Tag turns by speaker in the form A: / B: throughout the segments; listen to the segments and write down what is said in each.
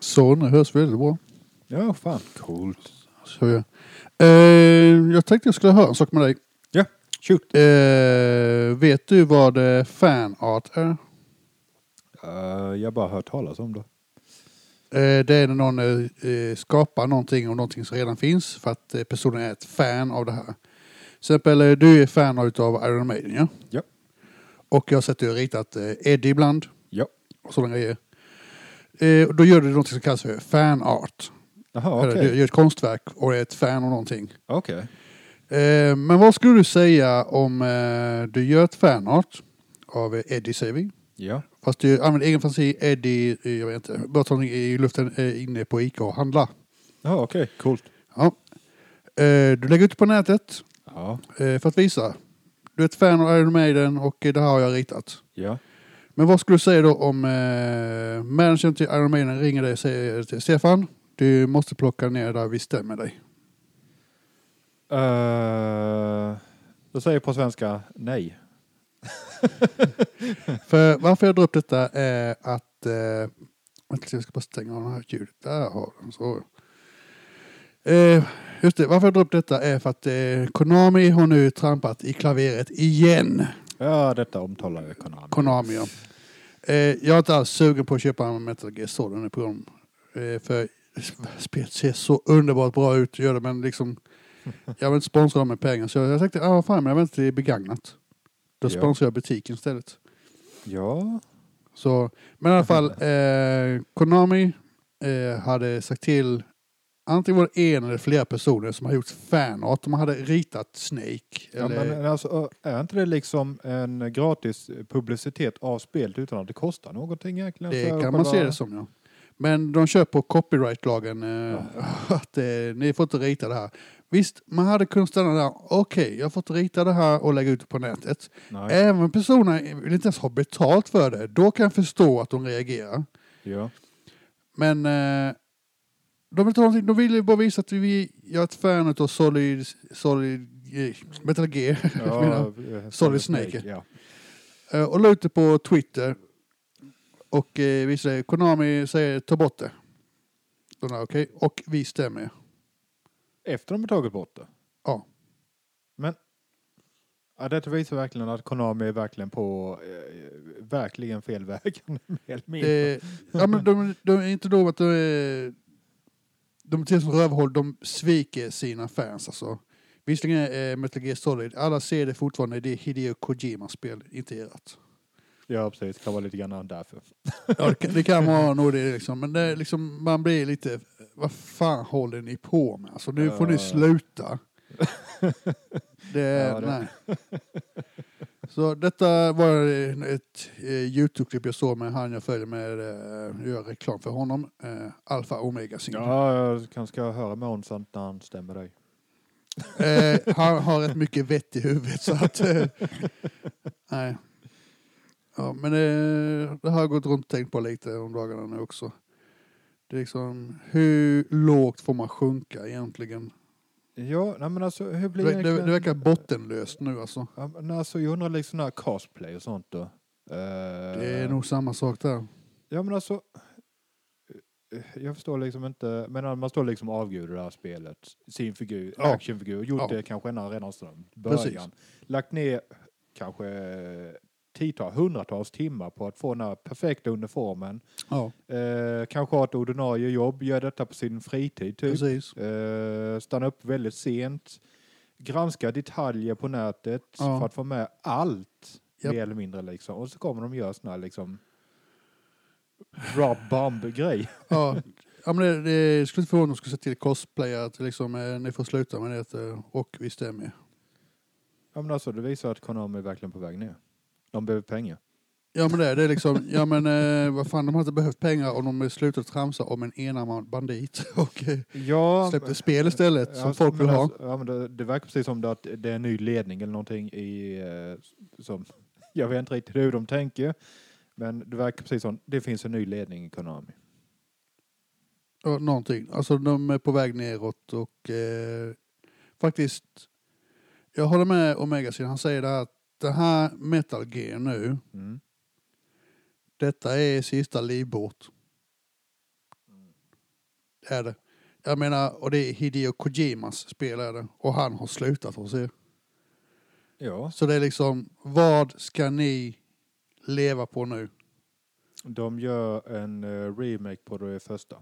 A: Så nu hörs väldigt bra.
B: Ja, fan. Coolt.
A: Så jag. Eh, jag tänkte jag skulle höra en sak med dig.
B: Ja, shoot.
A: Eh, vet du vad eh, fanart är?
B: Eh, jag har bara hört talas om det.
A: Eh, det är när någon eh, eh, skapar någonting och någonting som redan finns för att eh, personen är ett fan av det här. Till exempel, eh, du är fan av Iron Maiden ja?
B: Ja.
A: Och jag har sett du har ritat eh, Eddie ibland.
B: Ja.
A: Och sådana grejer. Eh, och då gör du någonting som kallas för fanart.
B: Jaha,
A: Eller Du
B: okej.
A: gör ett konstverk och är ett fan av någonting.
B: Okej.
A: Eh, men vad skulle du säga om eh, du gör ett fanart av eh, Eddie säger vi.
B: Ja.
A: Fast du använder egen fantasi, Eddie, eh, jag vet inte, bara ta någonting i luften eh, inne på Ica och handla.
B: Jaha, okej. Coolt.
A: Ja. Eh, du lägger ut det på nätet
B: Ja.
A: eh, för att visa. Du är ett fan av Iron Maiden och eh, det här har jag ritat.
B: Ja.
A: Men vad skulle du säga då om eh, managern till Iron Maiden ringer dig och säger till Stefan, du måste plocka ner där vi stämmer dig.
B: Uh, då säger jag på svenska nej.
A: För varför jag drar upp detta är att... Eh, vänta, jag ska bara stänga av det här ljudet. Där har den. Så. Eh, just det, varför jag drar upp detta är för att eh, Konami har nu trampat i klaveret igen.
B: Ja, detta omtalade Konami.
A: Konami, ja. Eh, jag är inte alls sugen på att köpa en Metal Gear Solid nu på dem. Eh, för spelet ser så underbart bra ut, gör det, men liksom... Jag vill inte sponsra dem med pengar, så jag, jag tänkte, ah, fan, men jag väntar till det är begagnat. Då
B: Ja.
A: sponsrar jag butiken istället.
B: Ja.
A: Så, men i alla fall, eh, Konami eh, hade sagt till antingen var det en eller flera personer som har gjort fanart. De hade ritat Snake.
B: ja
A: Eller,
B: men alltså, är inte det liksom en gratis publicitet av spelet utan att det kostar någonting egentligen?
A: det
B: för
A: kan man
B: själva-
A: se det som, ja. Men de kör på copyrightlagen eh, att eh, ni får inte rita det här. Visst, man hade kunnat stanna där. Okej, jag får inte rita det här och lägga ut det på nätet.
B: Nej.
A: Även personer vill inte ens ha betalt för det. Då kan jag förstå att de reagerar.
B: Ja.
A: Men eh, de, vill inte ha någonting, de vill ju bara visa att vi jag är ett fan av Solid, solid eh, Metal Gear.
B: ja
A: Mina-
B: eh,
A: Solid Snake.
B: Ja.
A: Eh, och la ut det på Twitter. Och eh, visade, Konami säger ta bort det. De där, okej. Och vi stämmer.
B: Efter de har tagit bort det?
A: Ja.
B: Men ja, detta visar verkligen att Konami är verkligen på eh, verkligen fel väg. mer eller mindre.
A: Det, ja, men de, de är inte nog att de är... De till som rövhåll, de sviker sina fans alltså. Visserligen är eh, Metal Gear Solid, alla ser det fortfarande, det är Hideo Kojimas spel, inte ert.
B: Ja, precis. Det kan vara lite grann därför.
A: Ja, det kan, det kan vara nog det liksom. Men det är liksom, man blir lite, vad fan håller ni på med? Alltså nu får ni
B: Ja.
A: sluta. Det,
B: Ja, det-
A: Nej. Så detta var ett eh, Youtube-klipp jag såg med han jag följer med, eh, gör reklam för honom, eh, Alfa Omega Single.
B: Ja, jag kanske ska höra med honom sånt när han stämmer dig.
A: Eh, han har rätt mycket vett i huvudet så att... Eh, nej. Ja, men eh, det har jag gått runt och tänkt på lite om dagarna nu också. Det är liksom, hur lågt får man sjunka egentligen?
B: Ja, nej, men alltså hur
A: Det,
B: blir
A: det, det
B: egentligen-
A: verkar bottenlöst nu alltså.
B: Ja, men alltså, jag undrar liksom när cosplay och sånt då. eh,
A: Det är nog samma sak där.
B: Ja men alltså. eh, Jag förstår liksom inte. Men man står liksom och avgudar det här spelet. Sin figur,
A: Ja.
B: actionfigur. Gjort
A: Ja.
B: det kanske ända redan sedan början.
A: Precis.
B: Lagt ner kanske eh, tiotal, hundratals timmar på att få den här perfekta uniformen.
A: Ja,
B: Eh, kanske ha ett ordinarie jobb. Gör detta på sin fritid typ.
A: precis.
B: Eh, stanna upp väldigt sent. Granska detaljer på nätet
A: Ja.
B: för att få med allt.
A: Japp.
B: Mer eller mindre liksom. Och så kommer de göra såna här liksom drop bomb grej.
A: Ja, ja men det, det jag skulle inte förvåna om de skulle säga till cosplayer att liksom, eh, ni får sluta med det eh, och vi stämmer.
B: Ja men alltså det visar att Konami är verkligen på väg ner. De behöver pengar.
A: Ja men det, är- det är liksom, ja men eh, vad fan de har inte behövt pengar om de slutat tramsa om en enarmad bandit och eh,
B: Ja,
A: släppte spel istället
B: ja,
A: som folk
B: men
A: vill ha.
B: alltså, ja, men det, det verkar precis som det, att det är en ny ledning eller någonting i eh, som jag vet inte riktigt hur de tänker. Men det verkar precis som det finns en ny ledning i Konami.
A: Ja, någonting. Alltså de är på väg neråt och eh, faktiskt, jag håller med Omega Sin, han säger det här att det här metal gear nu,
B: Mm.
A: detta är sista livbåt. är det. Jag menar, och det är Hideo Kojimas spel är det. Och han har slutat hos er.
B: Ja,
A: Så det är liksom, vad ska ni leva på nu?
B: de gör en eh, remake på det första.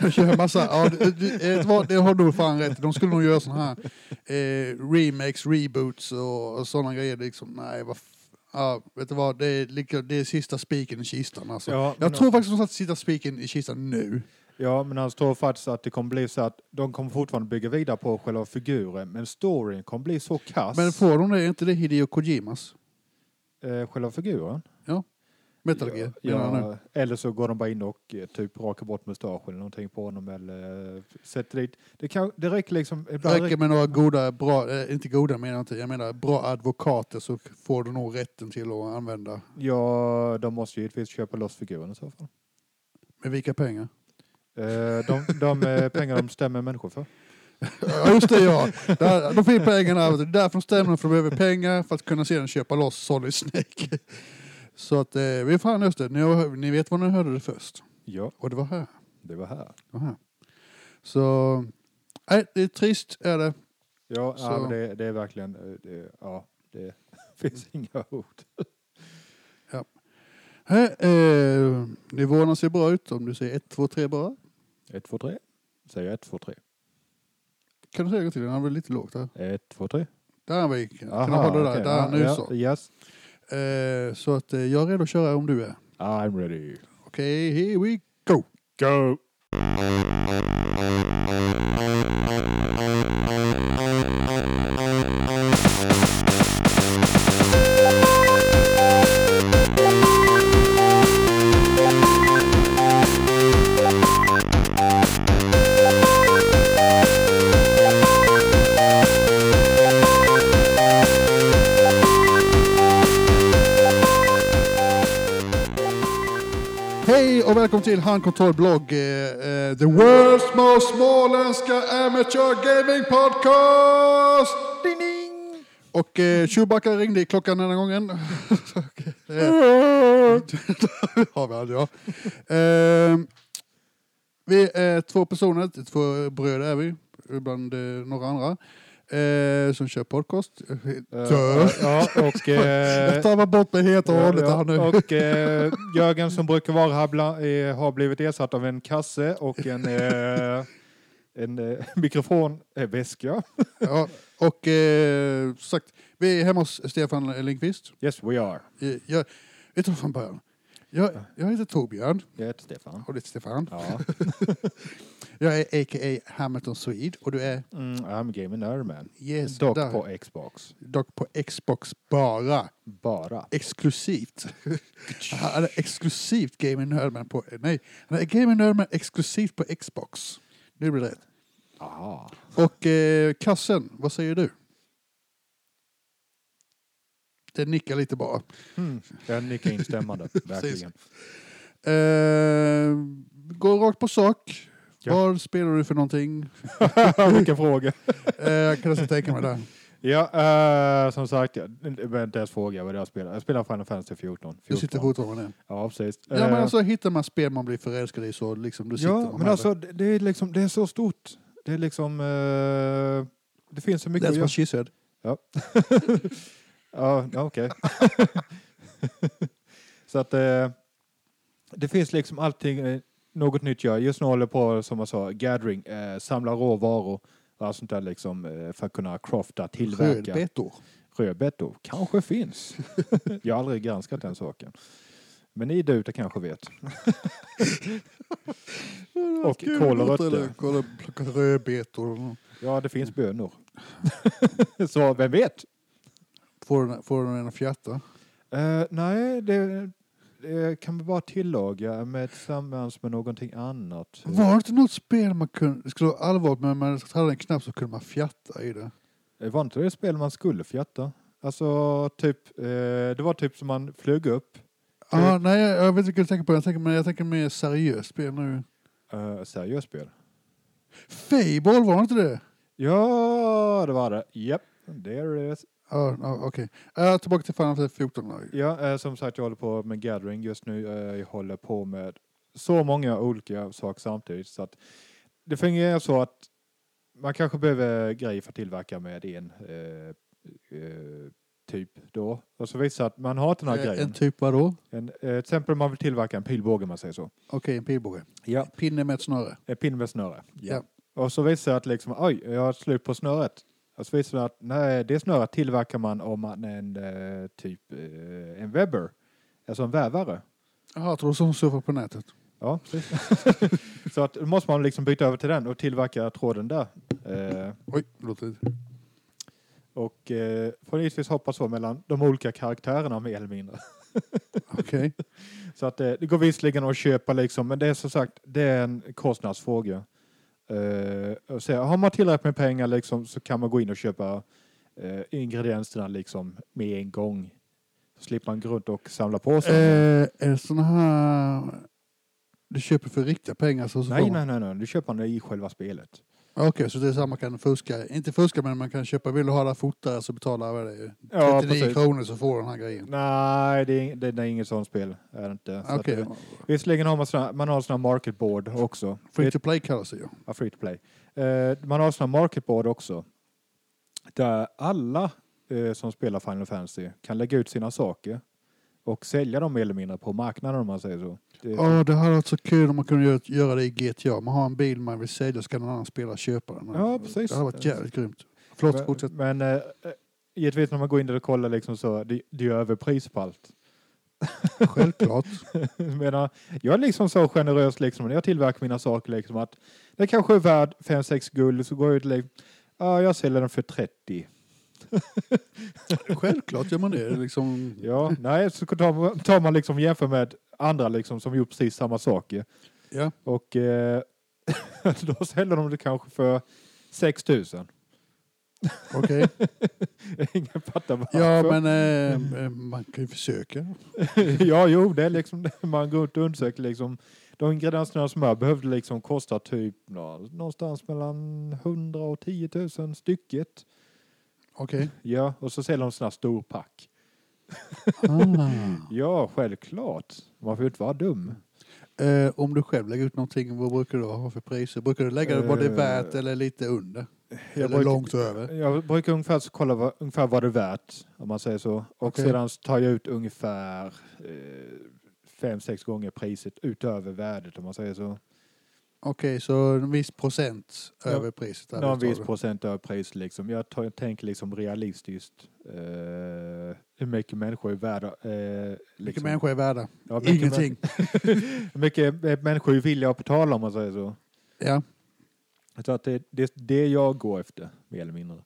A: De kör massa, ja, det, det, det, det har du fan rätt i. De skulle nog göra såna här eh, remakes, reboots och, och sådana grejer. Liksom, nej, vad f- ja, vet du vad, det är, lika- det är sista spiken i kistan alltså.
B: Ja, men-
A: Jag tror faktiskt att de satt sista spiken i kistan nu.
B: Ja, men han tror faktiskt att det kommer bli så att de kommer fortfarande bygga vidare på själva figuren, men storyn kommer bli så kass.
A: Men får de det, är inte det Hideo Kojimas?
B: eh, själva figuren.
A: Metal Gear, menar jag nu.
B: ja, eller så går de bara in och eh, typ rakar bort mustaschen eller någonting på honom eller eh, sätter dit. Det, kan, det räcker liksom.
A: Det
B: Ibland
A: räcker med några goda, bra, eh, inte goda menar jag inte, jag menar bra advokater så får du nog rätten till att använda.
B: Ja, de måste ju givetvis köpa loss figuren i så fall.
A: Med vilka pengar?
B: Eh, De, de eh, pengar de stämmer människor för.
A: Ja, just det ja. Där, de fick pengarna. Det är därför de stämmer, för de behöver pengar för att kunna sedan köpa loss Solid Snake. Så att eh, vi fan just det, ni, har- ni vet var ni hörde det först.
B: Ja,
A: Och det var här.
B: det var här.
A: Det var här. Så, nej, det är trist är det.
B: Ja,
A: Så-
B: ja men det, det är verkligen, eh, det, ja, det finns inga ord.
A: Här, eh, nivåerna ser bra ut om du säger 1, 2, 3 bara.
B: Ett, två, tre. Säger ett, två, tre.
A: Kan du säga det till? Den var lite lågt där.
B: Ett, två, tre.
A: Där var jag. Kan du hålla där?
B: okej.
A: Där,
B: Ja,
A: nu
B: ja,
A: så.
B: Yes,
A: Eh, så att eh, jag är redo att köra om du är.
B: I'm ready.
A: Okej, here we
B: Go!
A: Hej och välkommen till Handkontroll blogg, eh, eh, the world's most småländska amateur gaming podcast! Ding, ding. Och eh, Chewbacca ringde i klockan den här gången. Okej, det
B: Eh,
A: har vi aldrig, ja. Eh, vi är två personer, två bröder är vi, bland eh, några andra, eh, som kör podcast. Eh, Dö.
B: ja, och...
A: Jag
B: eh,
A: tar bort mig helt och hållet här nu.
B: och eh, Jörgen som brukar vara här bland, eh, har blivit ersatt av en kasse och en, eh, en eh, mikrofon, eh, väska.
A: Ja, och eh, som sagt, vi är hemma hos Stefan Lindqvist.
B: Yes we are.
A: Jag, Eh, jag vet du vad från början? Jag, jag heter Torbjörn,
B: Jag heter Stefan.
A: och det är Stefan.
B: Ja,
A: Jag är a.k.a. Hamilton Swede och du är
B: mm, I'm gaming nerd man.
A: yes,
B: Dock
A: där.
B: på Xbox.
A: dock på Xbox bara.
B: Bara.
A: Exklusivt. Han är exklusivt Gaming Nerdman på... Nej, han är Gaming Nerdman exklusivt på Xbox. Nu blir det rätt.
B: Aha.
A: Och eh, Kassen, vad säger du? Den nickar lite bara.
B: Mm. Jag nickar instämmande, verkligen.
A: Eh, gå rakt på sak.
B: Ja.
A: Vad spelar du för någonting?
B: Vilken fråga.
A: Eh, jag kan nästan tänka mig det.
B: Ja, eh, som sagt, jag jag behöver inte ens fråga vad jag spelar. Jag spelar Final Fantasy 14. 14.
A: Du sitter fortfarande där.
B: Ja, precis.
A: Ja, men
B: Eh,
A: alltså, hittar man spel man blir förälskad i så liksom, du sitter
B: Ja,
A: man
B: men
A: här.
B: alltså det det är, liksom, det är så stort. Det är liksom... eh, det finns så mycket
A: That's
B: att göra.
A: what she said.
B: Ja, ja, okej. så att eh, det finns liksom allting, eh, något nytt att göra. Just nu håller jag på, som jag sa, gathering, eh, samla råvaror och allt sånt där liksom eh, för att kunna crafta, tillverka.
A: Rödbetor.
B: Rödbetor kanske finns. jag har aldrig granskat den saken. Men ni där ute kanske vet. Och kålrötter.
A: Kolla, plocka rödbetor.
B: Ja, det finns bönor. så vem vet?
A: Får den- Får den en fjärta?
B: Eh, nej, det, det kan vi bara tillaga med tillsammans med någonting annat.
A: Var det inte något spel man kunde, skulle vara allvarligt men man hade en knapp så kunde man fjärta i det?
B: Det Eh, var inte det spel man skulle fjatta? Alltså, typ, eh, det var typ som man flög upp.
A: Ah, nej, jag, jag vet inte vilket jag tänker på. Jag tänker, men jag tänker mer seriöst spel nu.
B: Uh, seriöst spel.
A: Fable, var det inte det?
B: Ja, det var det. Japp, det är det.
A: Ja, ja, okej. Ja, tillbaka till Final Fantasy 14. då.
B: Ja, eh, som sagt, jag håller på med Gathering just nu. Eh, jag håller på med så många olika saker samtidigt. Så att det fungerar så att man kanske behöver grejer för att tillverka med en eh, eh, typ då. Och så visar att man har inte den här
A: Eh, En
B: grejen.
A: typ vadå?
B: En, eh, till exempel om man vill tillverka en pilbåge om man säger så.
A: Okej, en pilbåge.
B: Ja.
A: Pinne med ett snöre.
B: En pinne med snöre.
A: Ja.
B: Och så visar det att liksom, oj, jag har slut på snöret. Och så visar det att nej, det snöret tillverkar man om man är en eh, typ eh, en webber. Alltså en vävare.
A: Jaha, jag tror som surfar på nätet.
B: Ja, precis. så att, då måste man liksom byta över till den och tillverka tråden där. Eh,
A: Oj, låter det.
B: och eh, får givetvis hoppa så mellan de olika karaktärerna mer eller mindre.
A: Okej.
B: Så att eh, det, det går visserligen att köpa liksom, men det är som sagt, det är en kostnadsfråga. Eh, och så, har man tillräckligt med pengar liksom, så kan man gå in och köpa eh, ingredienserna liksom med en gång. Så slipper man gå runt och samla på sig.
A: Eh, är det såna här du köper för riktiga pengar? Så så får
B: nej,
A: man-
B: nej, nej, nej, du köper den i själva spelet.
A: Okej, så det är så här man kan fuska. Inte fuska, men man kan köpa. Vill du ha det här fotare så betalar vad det är. 39
B: Ja, precis.
A: kronor så får du den här grejen.
B: Nej, det är, det, det är inget sånt spel. Är det inte. Så att
A: Okej,
B: det- Visserligen har man såna, man har såna market board också.
A: free to play kallas det ju.
B: Ja, free to play. Eh, man har sådana marketboard också. Där alla eh, som spelar Final Fantasy kan lägga ut sina saker och sälja dem mer eller mindre på marknaden om man säger så. Det,
A: Ja, oh det hade varit så kul om man kunde göra- göra det i GTA. Man har en bil man vill sälja så kan en annan spelare köpa den.
B: Ja, precis.
A: Det hade varit jävligt grymt. Förlåt, fortsätt.
B: men men eh, givetvis när man går in där och kollar liksom så, det, det är överpris på allt.
A: Självklart.
B: Medan jag är liksom så generös liksom när jag tillverkar mina saker liksom att det kanske är värd 5-6 guld så går jag ut liksom, ja jag säljer den för 30.
A: Självklart gör man det. Liksom,
B: Ja, nej, så tar man, tar man liksom jämför med andra liksom som gjort precis samma saker.
A: ja.
B: Och eh, då säljer de det kanske för 6 000.
A: Okej.
B: Ingen fattar varför.
A: Ja, men eh, eh, man kan ju försöka.
B: ja, jo, det är liksom det man går ut och undersöker liksom. De ingredienserna som jag behövde liksom kosta typ nå- någonstans mellan 100 och 10 000 stycket.
A: Okej.
B: Ja, och så säljer de sådana storpack.
A: Ah.
B: Ja, självklart. Man får ju inte vara dum.
A: Eh, om du själv lägger ut någonting, vad brukar du ha för priser? Brukar du lägga det vad det är värt
B: Eh,
A: eller lite under?
B: jag
A: Eller
B: brukar-
A: långt över?
B: Jag brukar ungefär så kolla vad, ungefär vad det är värt, om man säger så. Och
A: Okej.
B: sedan så tar jag ut ungefär eh, fem, sex gånger priset utöver värdet, om man säger så.
A: Okej, så en viss procent
B: Ja,
A: över priset. där
B: Någon
A: vi
B: viss
A: tar det.
B: procent över priset liksom. Jag, tar, jag tänker liksom realistiskt eh, hur mycket människor är värda. Eh,
A: Mycket
B: liksom.
A: människor är värda.
B: Ja,
A: Ingenting.
B: Hur mycket eh, människor är villiga att betala, om man säger så.
A: Ja,
B: Så att det, det är det jag går efter, mer eller mindre.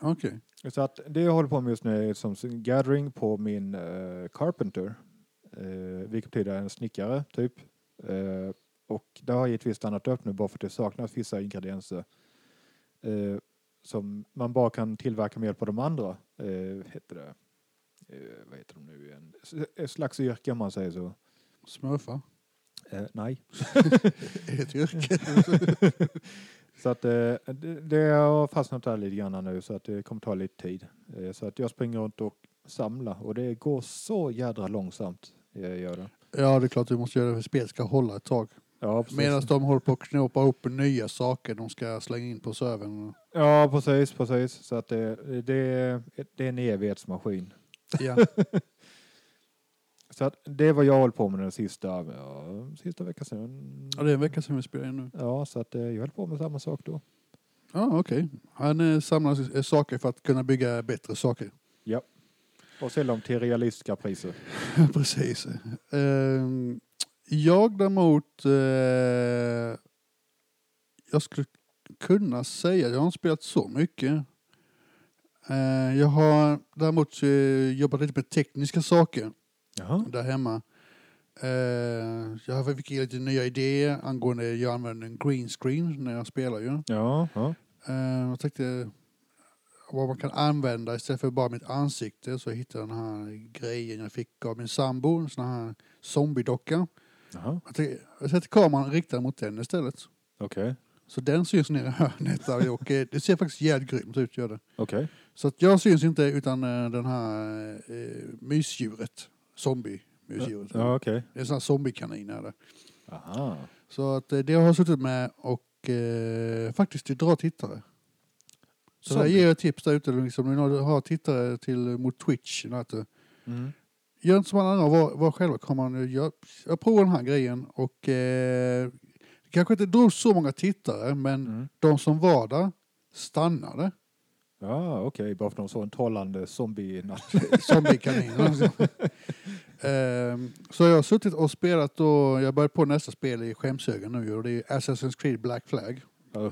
A: okej.
B: Så att det jag håller på med just nu är som sin gathering på min eh, carpenter. eh, vilket betyder en snickare, typ. Eh, och det har givetvis stannat upp nu bara för att det saknas vissa ingredienser. eh, som man bara kan tillverka med hjälp av de andra. Uh, heter det. eh, vad heter de nu igen? S- Ett slags yrke om man säger så.
A: Smurfa.
B: Eh, nej.
A: Ett yrke.
B: Så att eh, det, det har fastnat där lite grann nu så att det kommer ta lite tid. Eh, så att jag springer runt och samlar och det går så jädra långsamt. Jag gör det.
A: Ja, det är klart du måste göra det för spelet ska hålla ett tag.
B: Ja, precis.
A: Medan de håller på att knåpa upp nya saker de ska slänga in på servern.
B: Ja, precis, precis. Så att det, det, det är en evighetsmaskin.
A: Ja,
B: Så att det är vad jag håller på med den sista, ja, sista veckan sedan.
A: ja det är en vecka sedan vi spelade in nu.
B: Ja, så att eh, jag höll på med samma sak då.
A: Ja, okej. Han eh, samlar eh, saker för att kunna bygga bättre saker.
B: Och sälja dem till realistiska priser.
A: Precis. Ehm, jag däremot... eh, jag skulle kunna säga jag har inte spelat så mycket. Eh, jag har däremot eh, jobbat lite med tekniska saker
B: Jaha.
A: där hemma. Eh, jag fick lite nya idéer angående jag använder en green screen när jag spelar ju.
B: Ja, ja.
A: Eh, jag tänkte vad man kan använda istället för bara mitt ansikte så hittade jag den här grejen jag fick av min sambo, en sån här zombiedocka.
B: Jaha.
A: Jag, tänkte- jag sätter kameran riktad mot den istället.
B: Okej. Okay.
A: Så den syns nere i hörnet där och eh, det ser faktiskt jävligt grymt ut gör det.
B: Okej.
A: Så att jag syns inte utan eh, den här eh, mysdjuret, zombie-mysdjuret.
B: Ja, okej.
A: Det är en sån här zombiekanin är det.
B: Aha.
A: Så att eh, det har jag suttit med och och eh, faktiskt till dra tittare. Så där
B: Zombie.
A: ger jag tips där ute, liksom, om ni har tittare till, mot Twitch. Att, eh,
B: Mm.
A: gör inte som alla andra, var, var själva kameran. Jag, jag provar den här grejen och eh, det kanske inte drog så många tittare, men
B: Mm.
A: de som var där stannade.
B: Ja, okej, bara för att de såg en talande zombie-natt.
A: Zombiekanin. um, alltså. så jag har suttit och spelat och jag börjar på nästa spel i skämshögen nu och det är Assassin's Creed Black Flag.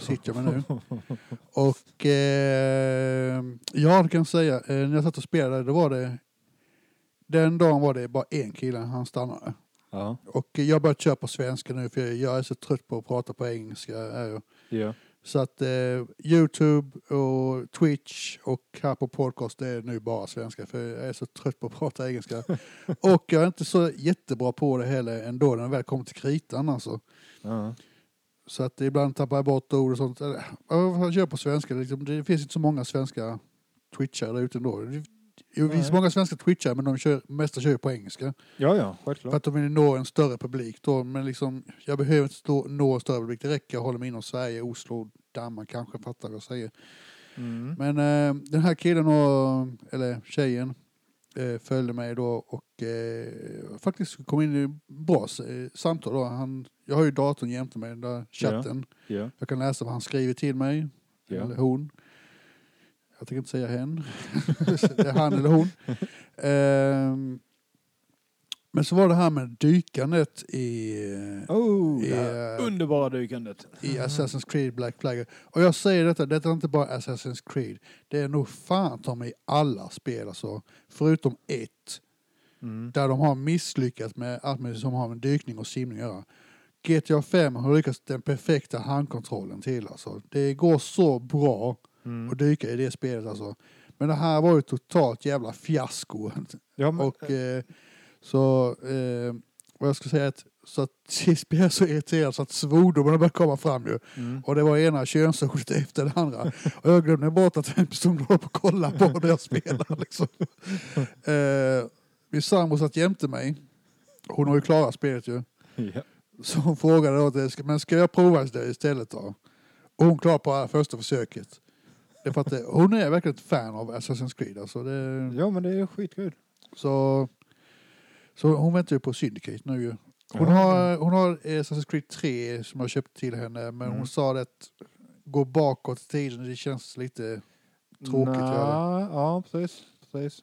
A: Sitter jag med nu. Och ehm, ja, det kan jag säga, eh, när jag satt och spelade, då var det den dagen var det bara en kille, han stannade.
B: Ja,
A: Och jag började köra på svenska nu för jag- jag är så trött på att prata på engelska. är jag.
B: ja.
A: Så att eh, Youtube och Twitch och här på podcast det är nu bara svenska för jag är så trött på att prata engelska. och jag är inte så jättebra på det heller ändå när jag väl kommer till kritan alltså.
B: ja.
A: Så att ibland tappar jag bort ord och sånt. Eller, ja, Jag kör på svenska liksom. Det finns inte så många svenska twitchare där ute ändå. Det det finns
B: Nej.
A: många svenska twitchare men de kör, mesta kör ju på engelska.
B: ja, ja,
A: För
B: självklart.
A: att de vill nå en större publik då. Men liksom, jag behöver inte stå, nå en större publik. Det räcker att hålla mig inom Sverige, Oslo, Danmark kanske fattar vad jag säger.
B: Mm.
A: Men eh, den här killen, och, eller tjejen, eh, följde mig då och eh, faktiskt kom in i bra eh, samtal. Då. Han, jag har ju datorn jämte mig, den där chatten.
B: Ja,
A: Jag kan läsa vad han skriver till mig,
B: ja.
A: eller hon. Jag tänker inte säga hen. det är han eller hon. Ehm, men så var det här med dykandet i,
B: Oh, det
A: Ja.
B: här underbara dykandet.
A: i Assassin's Creed Black Flag. Och jag säger detta, detta är inte bara Assassin's Creed. Det är nog fan ta mig alla spel alltså. Förutom ett.
B: Mm.
A: Där de har misslyckats med allt med som har med dykning och simning att göra. GTA 5 har lyckats den perfekta handkontrollen till alltså. Det går så bra
B: Mm.
A: och dyka i det spelet alltså. Men det här var ju totalt jävla fiasko.
B: Ja, men,
A: Och eh, så, eh, vad jag ska säga är att så att sist blev jag så irriterad så att svordomarna började komma fram ju.
B: mm.
A: Och det var ena könsordet efter det andra. Och jag glömde bort att vem som låg och kollade på när jag spelade liksom. Eh, min sambo satt jämte mig. Hon har ju klarat spelet ju.
B: Ja.
A: Så hon frågade då, till- "Ska- men ska jag prova det istället då? Och hon klarade på det första försöket. Det är för att eh, hon är verkligen ett fan av Assassin's Creed. Alltså det,
B: ja, men det är skitkul.
A: så, så hon väntar ju på Syndicate nu ju. Hon
B: Ja.
A: har, hon har eh, Assassin's Creed 3 som jag köpte till henne, men
B: Mm.
A: hon sa det att gå bakåt i tiden, det känns lite... tråkigt,
B: Nja,
A: ja,
B: Ja, precis. precis.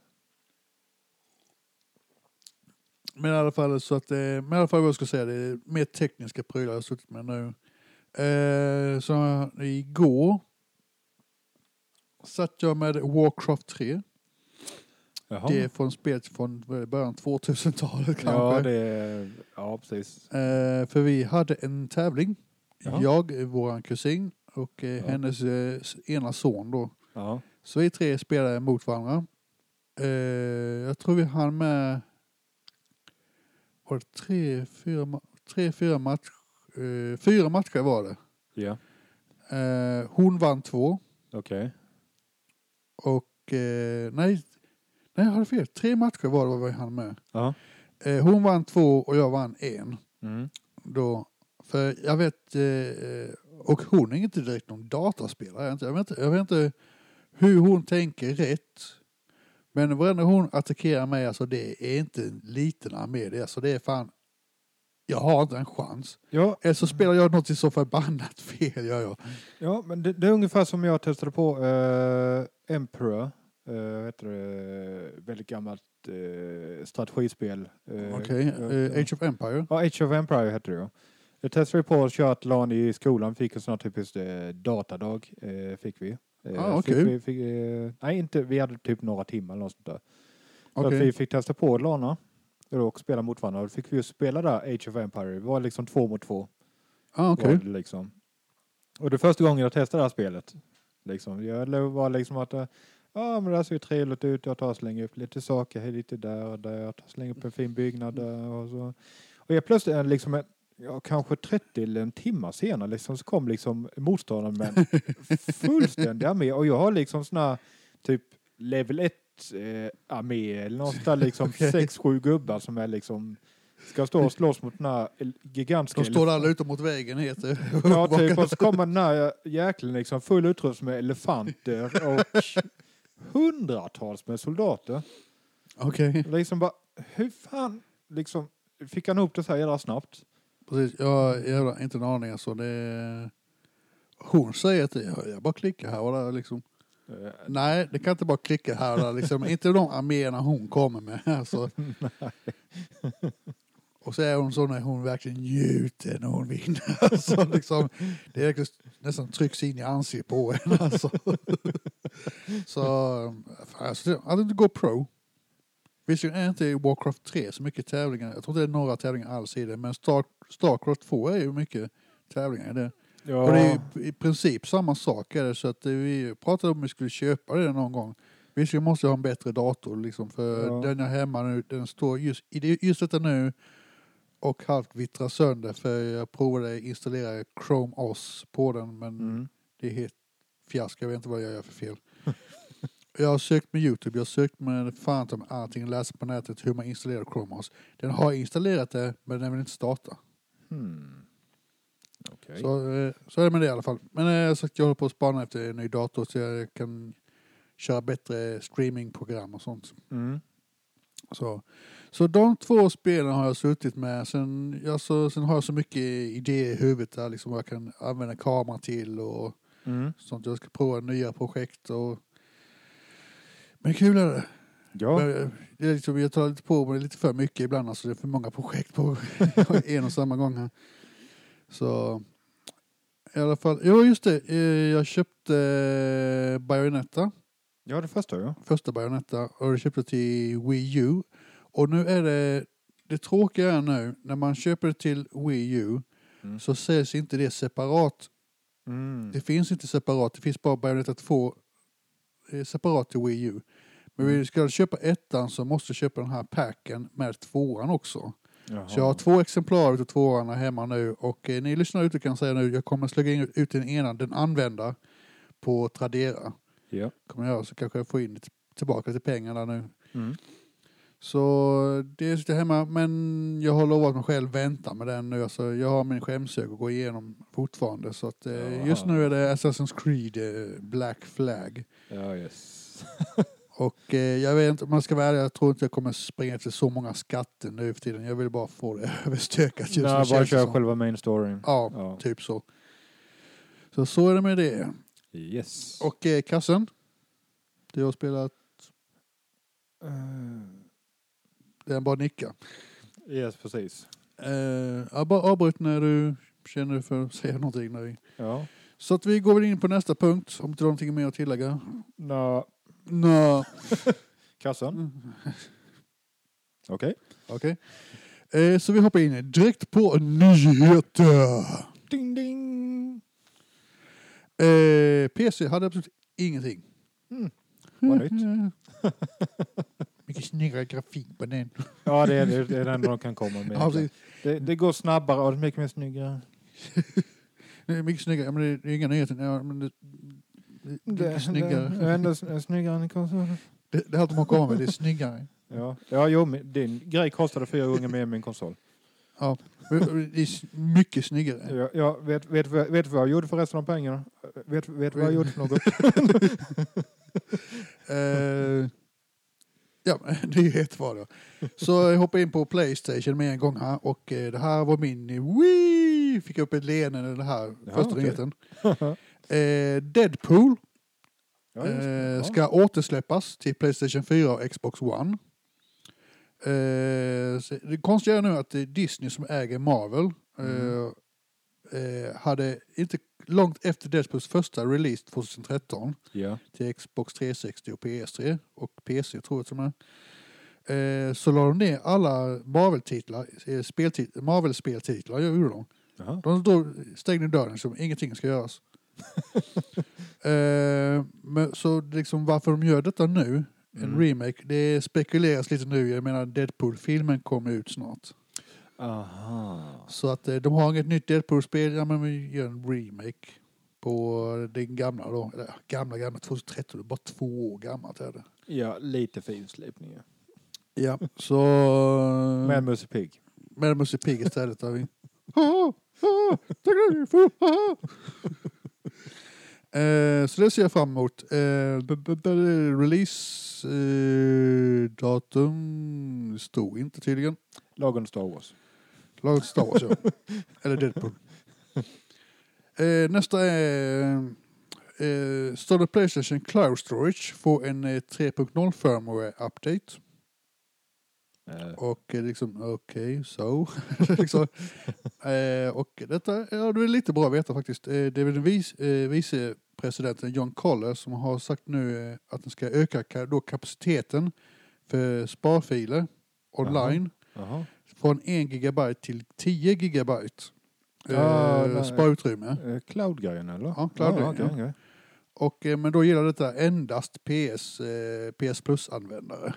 A: Men i alla fall så att, eh, men i alla fall vad jag skulle säga, det är mer tekniska prylar jag har suttit med nu. Eh, så igår satt jag med Warcraft 3.
B: Jaha.
A: Det är från spelet från vad är det, början av 2000-talet kanske.
B: ja, det är, ja, precis.
A: Eh, för vi hade en tävling.
B: Ja.
A: Jag, vår kusin och eh,
B: Ja.
A: hennes eh, s- ena son då.
B: Ja.
A: Så vi tre spelade mot varandra. Eh, jag tror vi hann med var det tre, fyra, ma- tre, fyra matcher. Eh, fyra matcher var det.
B: Ja,
A: Eh, hon vann två
B: okej.
A: och eh, nej, nej jag hade fel. Tre matcher var det vad vi hann med.
B: Ja.
A: Eh, hon vann två och jag vann en.
B: Mm.
A: då. För jag vet, eh, och hon är inte direkt någon dataspelare. Jag vet inte, jag vet inte, jag vet inte hur hon tänker rätt. Men varenda hon attackerar mig, alltså det är inte en liten armé. Det är, alltså det är fan, jag har inte en chans.
B: Ja,
A: Eller så spelar jag något så förbannat fel, gör jag.
B: ja, men det, det är ungefär som jag testade på eh, Emperor. Uh, heter det? Väldigt gammalt eh, strategispel. Eh,
A: Okej, eh, Age of Empire.
B: Ja, Age of Empire hette det ja. Jag testade på att köra ett LAN i skolan, fick en sån här typisk eh, datadag. Eh, fick vi. Eh,
A: Ah, okej.
B: fick vi fick, eh, nej, inte, vi hade typ några timmar eller något sånt där. Så
A: Okej.
B: att vi fick testa på LANa och spela mot varandra. Då fick vi ju spela där, Age of Empire. Det var liksom två mot två.
A: Ah, okej.
B: Var det liksom. Och det är första gången jag testade det här spelet. Liksom, jag lo- var liksom att eh, ja men det här ser ju trevligt ut, jag tar och slänger upp lite saker här lite där och där, jag tar och slänger upp en fin byggnad där och så. Och jag plötsligt eh, liksom en, ja, kanske 30 eller en timme senare liksom, så kom liksom motståndaren med en fullständig armé och jag har liksom sån här typ level 1 eh, armé eller någonstans där liksom
A: Okej.
B: sex sju gubbar som är liksom Ska jag stå och slåss mot den här el- gigantiska...
A: De står alla ute mot vägen heter det.
B: Ja, typ. Och så kommer den här jäkeln liksom full utrustning med elefanter och hundratals med soldater.
A: Okej,
B: Liksom bara, hur fan liksom, fick han ihop det så här jävla snabbt?
A: precis. Jag har jävla- inte en aning alltså. Det är... Hon säger att jag, jag bara klickar här och där liksom.
B: Eh,
A: Nej, det kan inte bara klicka här och där liksom. inte de arméerna hon kommer med alltså. Och så är hon så när hon verkligen njuter när hon vinner. Alltså, liksom, det är verkligen nästan trycks in i ansiktet på henne. Alltså. Så, fan, alltså, det- hade du går pro. Visserligen är inte i Warcraft 3 så mycket tävlingar. Jag tror inte det är några tävlingar alls i det. Men Star, Starcraft 2 är ju mycket tävlingar i det. Och det är
B: Ja,
A: ju i princip samma sak är det. Så att eh, vi pratade om att vi skulle köpa det någon gång. Visserligen måste jag ha en bättre dator liksom. För
B: Ja.
A: den jag har hemma nu, den står just, i det- just detta nu och halvt vittrar sönder. För jag provade att installera Chrome OS på den. Men
B: mm.
A: det är helt fiasko. Jag vet inte vad jag gör för fel. jag har sökt med Youtube, jag har sökt med fan om allting. Läst på nätet hur man installerar Chrome OS. Den har installerat det, men den vill inte starta.
B: Hmm. Okej.
A: Så, eh, så är det med det i alla fall. Men eh, så att jag håller på att spana efter en ny dator så jag kan köra bättre streamingprogram och sånt.
B: Mm.
A: Så, så de två spelen har jag suttit med. Sen, jag så, sen har jag så mycket idéer i huvudet där liksom vad jag kan använda kameran till och
B: Mm.
A: sånt. Jag ska prova nya projekt och men kul är det.
B: Ja,
A: Men, eh, det är liksom, jag tar lite på mig lite för mycket ibland. Alltså det är för många projekt på en och samma gång. Här. Så i alla fall. Jo, just det. eh, Jag köpte eh, Bayonetta.
B: ja det förstår jag.
A: Första Bayonetta. Och det köpte jag till Wii U. Och nu är det... Det tråkiga är nu, när man köper det till Wii U
B: Mm.
A: så säljs inte det separat.
B: Mm.
A: Det finns inte separat. Det finns bara Bayonetta 2 eh, separat till Wii U. Men vi ska köpa ettan så måste jag köpa den här packen med tvåan också.
B: Jaha.
A: Så jag har två exemplar utav tvåan här hemma nu och eh, ni lyssnar ute kan säga nu, jag kommer slänga in- ut den ena, den använda, på Tradera.
B: Ja.
A: Kommer jag göra, så kanske jag får in lite, tillbaka lite pengar där nu.
B: Mm.
A: Så det sitter jag hemma, men jag har lovat mig själv vänta med den nu. Alltså, jag har min skämshög att gå igenom fortfarande. Så att, eh,
B: Jaha.
A: just nu är det Assassin's Creed eh, Black Flag.
B: Ja, yes.
A: Och eh, jag vet inte, om man ska vara ärlig, jag tror inte jag kommer springa till så många skatter nu för tiden. Jag vill bara få det överstökat just nu.
B: Nej, bara
A: känns det
B: kör
A: som.
B: själva main storyn.
A: Ja,
B: Ja.
A: typ så. Så så är det med det.
B: Yes.
A: Och eh, kassen. Du har spelat,
B: Eh,
A: den bara nickar.
B: yes, precis.
A: Eh, ja, bara avbryt när du känner för att säga någonting. När vi...
B: Ja.
A: Så att vi går väl in på nästa punkt, om du har någonting mer att tillägga.
B: Nå,
A: Nå,
B: kassan. Okej.
A: okej. Eh, så vi hoppar in direkt på nyheter.
B: Ding, ding.
A: Eh, PC hade absolut ingenting. mm.
B: Mm. Vad
A: Mycket snyggare grafik på den.
B: Ja, det är det, det är det enda de kan komma med.
A: Ja, precis.
B: det, det går snabbare och det är mycket mer snyggare.
A: Det är Eh, mycket snyggare. Ja, Men det det är inga nyheter. Ja, men det, det, det, är snyggare.
B: Det, det är ändå sn- snyggare än konsolen.
A: Det, det är allt man kommer med. Det är snyggare.
B: Ja, ja jo, men din grej kostade fyra gånger mer än min konsol.
A: Ja, men det är s- mycket snyggare.
B: Jag, jag vet, vet, vad- vet vad jag gjorde för resten av pengarna? Vet, vet vad jag gjorde för något?
A: Eh, ja, men nyhet var det. Så jag hoppar in på Playstation med en gång här. Och eh, det här var min Wii! Fick upp ett leende när det här
B: Ja,
A: första
B: okej.
A: nyheten. Eh, Deadpool
B: Ja, just det.
A: eh,
B: Ja.
A: ska återsläppas till Playstation 4 och Xbox One. Eh, så det konstiga är nu att det är Disney som äger Marvel.
B: Mm.
A: Eh, eh, hade inte långt efter Deadpools första release 2013
B: ja.
A: till Xbox 360 och PS3 och PC tror jag till och med. Eh, så la de ner alla Marvel-titlar, eh, speltit- Marvel-speltitlar, jag gjorde de.
B: Jaha.
A: De då stängde dörren som ingenting ska göras. eh, men, så liksom varför de gör detta nu, en
B: Mm.
A: remake, det spekuleras lite nu. Jag menar Deadpool-filmen kommer ut snart.
B: Aha.
A: Så att eh, de har inget nytt Deadpool-spel, ja men vi gör en remake på den gamla då. Eller, gamla, gamla, 2013, det är bara två år gammalt är det.
B: Ja, lite finslipningar.
A: Ja, så... Mm.
B: Men Musse Pigg.
A: Men det måste pigg istället. Där vi. Eh, så det ser jag fram emot. Eh, b- b- b- release eh, datum stod inte tydligen.
B: Lagom Star Wars.
A: Lagom till Star Wars, ja. Eller Deadpool. Eh, nästa är... Eh, Större Playstation Cloud Storage får en eh, 3.0 firmware update.
B: Eh,
A: Och eh, liksom, okej, så. liksom. eh, och detta ja, det är lite bra att veta faktiskt. Eh, det är väl den vis, eh, vicepresidenten John Collar som har sagt nu eh, att den ska öka ka, då kapaciteten för sparfiler online
B: Jaha.
A: från 1 gigabyte till 10 gigabyte
B: Ah,
A: eh,
B: nej.
A: sparutrymme.
B: Eh, Cloud-grejen eller?
A: Ja, cloud-grejen,
B: okej,
A: ja.
B: okej.
A: Och, eh, men då gäller detta endast PS, eh, PS Plus-användare.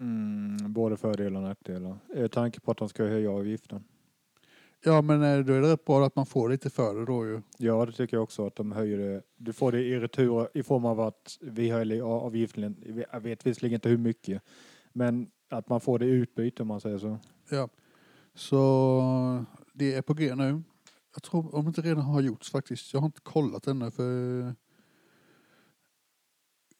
B: Mm, både fördelar och nackdelar. Eh, tanke på att de ska höja avgiften.
A: Ja, men eh, då är det rätt bra att man får lite för det då ju.
B: Ja, det tycker jag också att de höjer det. Du får det i retur i form av att vi höjer avgiften. Jag vet visserligen inte hur mycket, men att man får det i utbyte om man säger så.
A: Ja. Så det är på G nu. Jag tror om det inte redan har gjorts faktiskt. Jag har inte kollat ännu för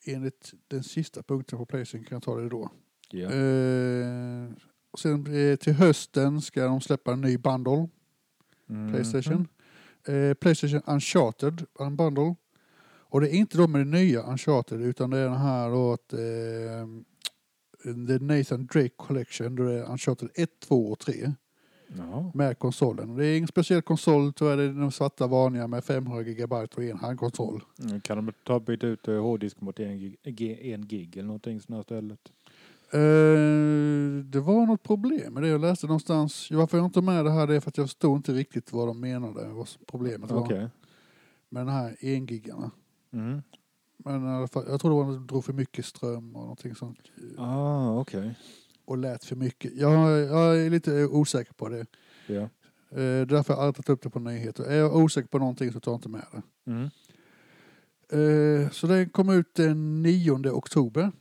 A: enligt den sista punkten på Playstation kan jag ta det då.
B: Ja.
A: Eh, och sen eh, till hösten ska de släppa en ny bundle.
B: Mm.
A: Playstation. Eh, Playstation Uncharted en Bundle. Och det är inte de med det nya Uncharted utan det är den här då att eh, The Nathan Drake Collection då det är Uncharted 1, 2 och 3
B: Jaha.
A: med konsolen. Det är ingen speciell konsol tyvärr, det är den svarta vanliga med 500 gigabyte och en handkontroll.
B: Mm, Kan de ta byta ut eh, hårddisk mot en gig, g- en gig eller någonting sånt här stället?
A: Eh, det var något problem med det jag läste någonstans. Varför jag inte har med det här det är för att jag förstod inte riktigt vad de menade, vad som- problemet var
B: Okej.
A: med den här 1 gigarna.
B: Mm.
A: Men i alla fall, jag tror det var att drog för mycket ström och någonting sånt.
B: Ah, okej.
A: Och lät för mycket. Jag, jag är lite osäker på det.
B: Ja.
A: Eh, därför har jag tagit upp det på nyheter. Är jag osäker på någonting så tar jag inte med det.
B: Mm.
A: Eh, så den kom ut den 9 oktober.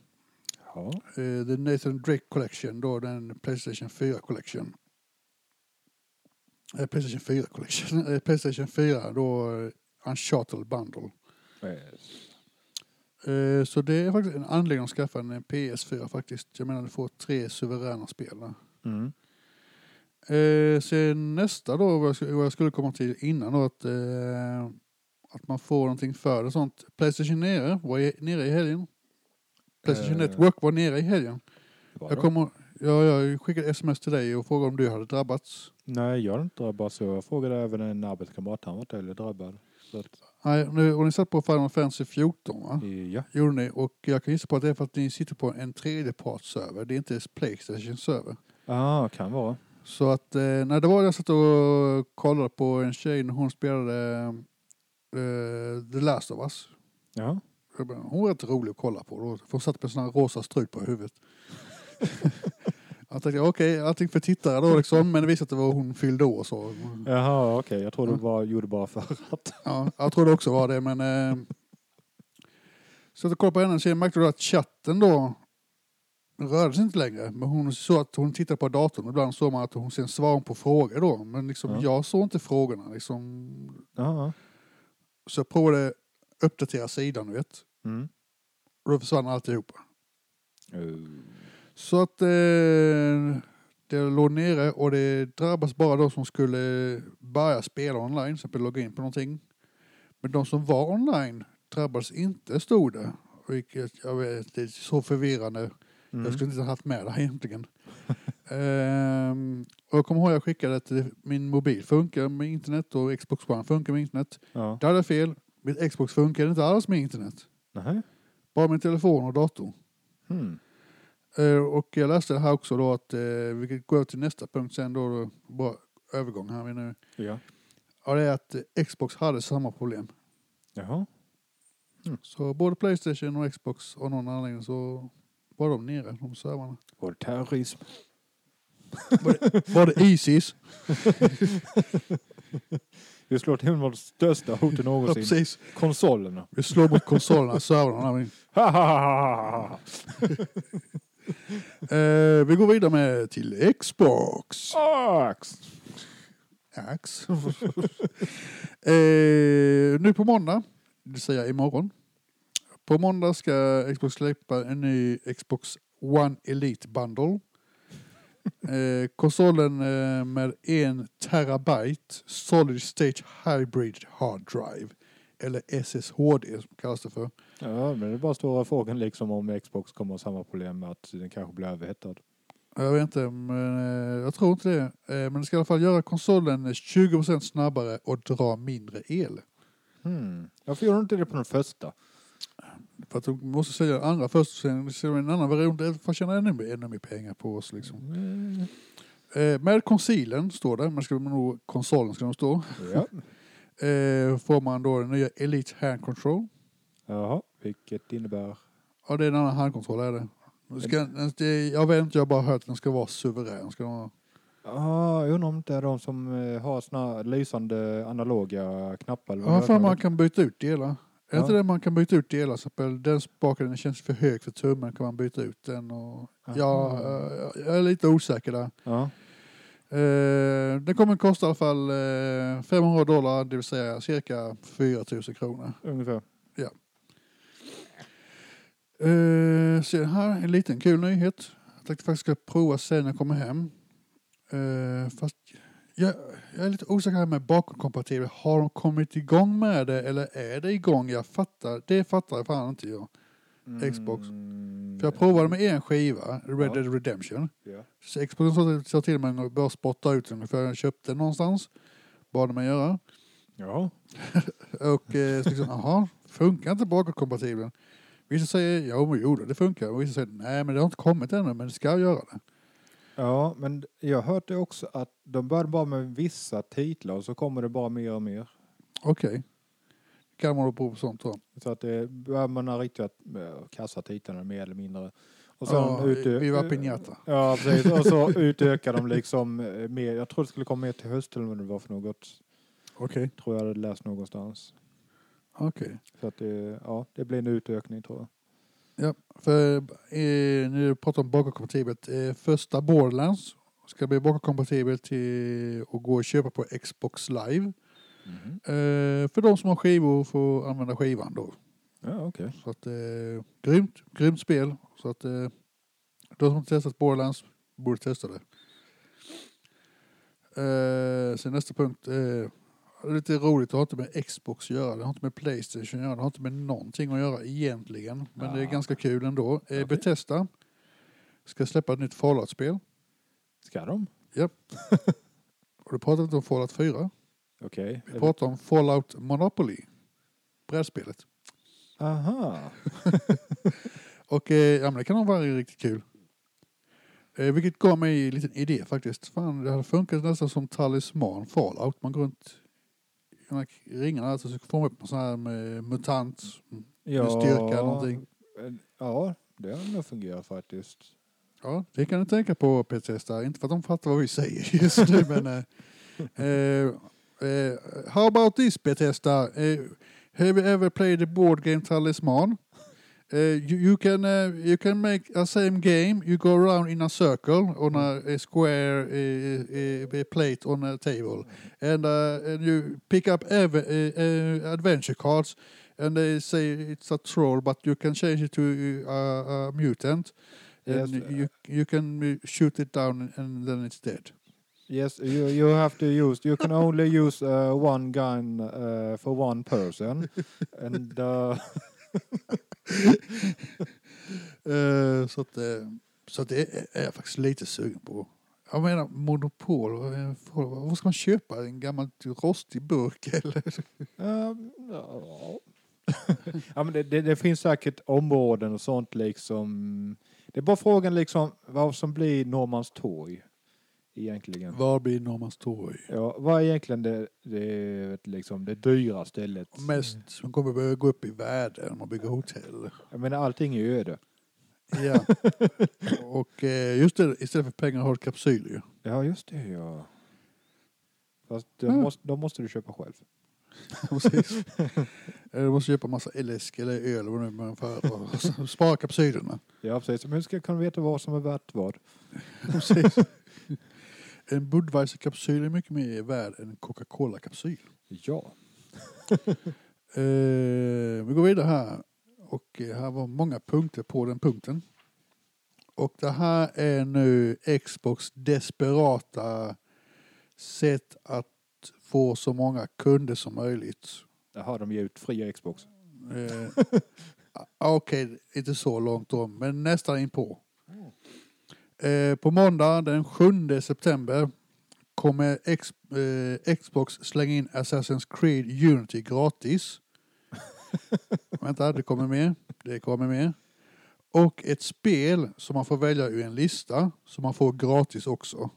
B: Ja.
A: Eh, The Nathan Drake Collection, då den Playstation 4 Collection. Eh, Playstation 4 Collection. Eh, Playstation 4, då eh, Uncharted Bundle.
B: Yes.
A: Eh, Så det är faktiskt en anledning att skaffa en PS4 faktiskt. Jag menar du får tre suveräna spel där.
B: Mm.
A: Eh, sen nästa då, vad jag skulle- vad jag skulle komma till innan då, att, eh, att man får någonting för det sånt. Playstation nere, var i- nere i helgen. Playstation
B: Eh.
A: Network var nere i helgen.
B: Vadå?
A: Jag, kommer, ja, jag skickade sms till dig och frågade om du hade drabbats.
B: Nej, jag är inte drabbad så. Jag frågade även en arbetskamrat, han var inte heller drabbad. Så att,
A: Nej, nu, och ni satt på Final Fantasy 14 va?
B: ja.
A: Gjorde ni? Och jag kan gissa på att det är för att ni sitter på en tredjepartsserver. Det är inte Playstations server.
B: Ah, kan vara.
A: Så att, eh, när det var jag satt och kollade på en tjej när hon spelade eh, The Last of Us.
B: Ja.
A: Jag bara, Hon var rätt rolig att kolla på. Då. För hon satt med sån här rosa strut på huvudet. jag tänkte okej, allting för tittare då liksom. Men det visade att det var hon fyllde år så.
B: Jaha, okej. Jag tror du bara gjorde bara för att.
A: Ja, jag tror det också var det men... Eh, så att jag kollade på henne och sen märkte jag att chatten då rörde sig inte längre. Men hon såg att hon tittade på datorn och ibland såg man att hon sen svarade på frågor då. Men liksom,
B: Ja.
A: jag såg inte frågorna liksom.
B: Ja.
A: Så jag provade uppdatera sidan du vet.
B: Mm.
A: Och då försvann alltihopa.
B: Uh.
A: Så att eh, det låg nere och det drabbas bara de som skulle börja spela online, till exempel logga in på någonting. Men de som var online drabbas inte, stod det. Vilket jag vet, det är så förvirrande.
B: Mm.
A: Jag skulle inte ha haft med det här egentligen. Ehm, och jag kommer ihåg jag skickade till min mobil funkar med internet och Xbox One funkar med internet.
B: Ja.
A: Där hade jag fel. Mitt Xbox funkar inte alls med internet.
B: Nej.
A: Bara min telefon och dator.
B: Mm.
A: Eh, Och jag läste det här också då att, eh, vilket går till nästa punkt sen då, då bra övergång här nu.
B: Ja.
A: Ja, det är att eh, Xbox hade samma problem.
B: Jaha.
A: Så både Playstation och Xbox av någon anledning så var de nere, de servrarna.
B: Var det terrorism?
A: Var det Isis?
B: Vi slår till med det största hotet
A: ja,
B: någonsin.
A: precis.
B: Konsolerna.
A: Vi slår mot konsolerna, servrarna.
B: Ha, ha, ha, ha, ha, ha.
A: Eh, vi går vidare med till Xbox.
B: Ax!
A: Ax. eh, nu på måndag, det vill säga imorgon. På måndag ska Xbox släppa en ny Xbox One Elite Bundle. Eh, konsolen eh, med en terabyte Solid State Hybrid Hard Drive. Eller SSHD som kallas det för.
B: Ja, men det är bara stora frågan liksom om Xbox kommer ha samma problem med att den kanske blir överhettad.
A: Jag vet inte, men eh, jag tror inte det. Eh, men det ska i alla fall göra konsolen 20% snabbare och dra mindre el.
B: Hmm. Varför gjorde de inte det på den första?
A: För att de måste sälja den andra först och sen säljer de en annan version där för att tjäna ännu mer, ännu mer pengar på oss. Liksom.
B: Mm.
A: Eh, med konsilen, står det, men ska de nog, konsolen ska de stå,
B: Ja.
A: eh, får man då den nya Elite Hand Control.
B: Jaha, vilket innebär...
A: Ja, det är en annan handkontroll är det. Nu Ska, den- det jag vet inte, jag har bara hört att den ska vara suverän. Ska den vara,
B: Ah, jag undrar om det är de som eh, har såna här lysande analoga knappar. eller
A: jag
B: vad
A: har
B: det
A: för
B: är.
A: mig man kan byta ut delar. Är det
B: Ja.
A: inte det man kan byta ut delar? Så att den spaken den känns för hög för tummen, kan man byta ut den? Och, ja,
B: Aha.
A: eh, jag är lite osäker där.
B: Ja.
A: Eh, den kommer kosta i alla fall eh, 500 dollar, det vill säga cirka 4 000 kronor.
B: Ungefär.
A: Eh, sen här, en liten kul nyhet. Jag tänkte faktiskt ska prova sen när jag kommer hem. Eh, fast jag, jag är lite osäker här med bakåtkompatibel. Har de kommit igång med det eller är det igång? Jag fattar, det fattar jag fan inte jag. Xbox.
B: Mm.
A: För jag provade med en skiva, Red
B: Ja.
A: Dead Redemption.
B: Ja.
A: Så Xbox sa till mig att börja spotta ut den för jag köpte den någonstans. Bad mig göra.
B: ja.
A: Och eh, så liksom, aha, funkar inte bakåtkompatibeln? Vissa säger, ja men jo då, det funkar. Och vissa säger, nej men det har inte kommit ännu, men det ska göra det.
B: Ja, men jag hörde också att de började bara med vissa titlar och så kommer det bara mer och mer.
A: Okej. Kan man då prova på sånt då?
B: Så att det börjar man ha riktigt eh, kassa titlarna mer eller mindre. Och sen
A: Ja,
B: utö-
A: Viva Piñata.
B: Ja, precis. Och så utökar de liksom eh, mer. Jag tror det skulle komma mer till hösten eller vad det var för något.
A: Okej.
B: Tror jag hade läst någonstans.
A: Okej.
B: Så att det, ja, det blir en utökning tror jag.
A: För eh, nu pratar om bakåtkompatibelt. Eh, första Borderlands ska bli bakåtkompatibelt till och gå och köpa på Xbox Live.
B: Mhm.
A: Eh, för de som har skivor får använda skivan då.
B: Ja, okej.
A: Så att, eh, grymt, grymt spel. Så att eh, de som inte testat Borderlands borde testa det. Eh, sen nästa punkt. Eh, det är lite roligt, det har inte med Xbox att göra, det har inte med Playstation att göra, det har inte med någonting att göra egentligen. Men det är
B: Ah.
A: ganska kul ändå. Eh,
B: Okej.
A: Bethesda ska släppa ett nytt Fallout-spel.
B: Ska de?
A: Och då pratar vi inte om Fallout 4,
B: Okej.
A: vi pratar om Fallout Monopoly. Brädspelet.
B: Aha.
A: Och eh, ja, men det kan nog vara riktigt kul. Eh, vilket gav mig en liten idé faktiskt. Fan, det hade funkat nästan som talisman fallout. Man går runt i de här ringarna alltså, så får man upp en sån här med mutant
B: Ja.
A: med styrka någonting.
B: Ja, det har nog fungerat faktiskt.
A: Ja, det kan du tänka på Bethesda. Inte för att de fattar vad vi säger just nu men... Eh, eh, eh, how about this Bethesda? Eh, have you ever played the board game talisman? Eh, you, you can eh, you can make a same game. You go around in a circle on a, a square eh, eh, plate on a table, and, uh, and you pick up ev- eh, eh, adventure cards. And they say it's a troll, but you can change it to uh, a mutant, and
B: Yes, uh,
A: you you can shoot it down, and then it's dead.
B: Yes, you, you have to use, you can only use uh, one gun uh, for one person. And uh,
A: Eh, så att, eh, så att det är jag faktiskt lite sugen på. Jag menar monopol, vad är- vad vad ska man köpa? En gammal rostig burk eller?
B: Ehm, ja. ja, men det, det, det finns säkert områden och sånt liksom. Det är bara frågan liksom vad som blir Norrmalmstorg egentligen.
A: Var blir Norrmalmstorg?
B: Ja, vad är egentligen det, det, liksom, det dyra stället?
A: Och Mest som kommer börja gå upp i värde när man bygger hotell.
B: Jag menar allting är ju öde.
A: Ja. Och eh, just det, istället för pengar har du kapsyler ju.
B: Ja just det ja. Fast då,
A: Mm.
B: måste, då måste du köpa själv.
A: Precis. Eh, Du måste köpa massa läsk eller öl eller vad det nu är för och så sparka på sidorna.
B: Ja, precis. Men hur ska jag kunna veta vad som är värt vad?
A: Precis. En Budweiser-kapsyl är mycket mer värd än en Coca-Cola-kapsyl.
B: Ja.
A: Eh, vi går vidare här. Och eh, här var många punkter på den punkten. Och det här är nu Xbox desperata sätt att få så många kunder som möjligt.
B: Jaha, de ger ut fria Xbox.
A: Eh, ah, Okej, inte så långt om, men nästan in på. Eh, på måndag den 7 september kommer X, eh, Xbox slänga in Assassin's Creed Unity gratis. Vänta, det kommer mer. Det kommer mer. Och ett spel som man får välja ur en lista som man får gratis också.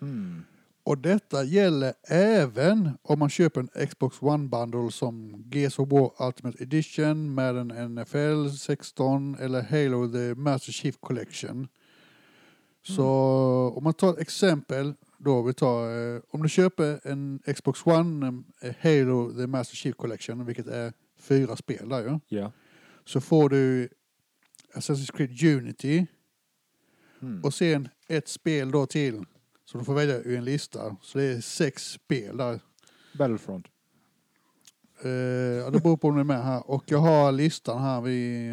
B: Mm.
A: Och detta gäller även om man köper en Xbox One Bundle som Gears of War Ultimate Edition med en NFL 16 eller Halo The Master Chief Collection. Så om man tar ett exempel då, vi tar, eh, om du köper en Xbox One eh, Halo The Master Chief Collection, vilket är fyra spel där ju,
B: Ja.
A: så får du Assassin's Creed Unity,
B: Mm.
A: och sen ett spel då till. Så du får välja ur en lista. Så det är sex spel där.
B: Battlefront.
A: Eh, ja, det beror på om ni är med här. Och jag har listan här vi,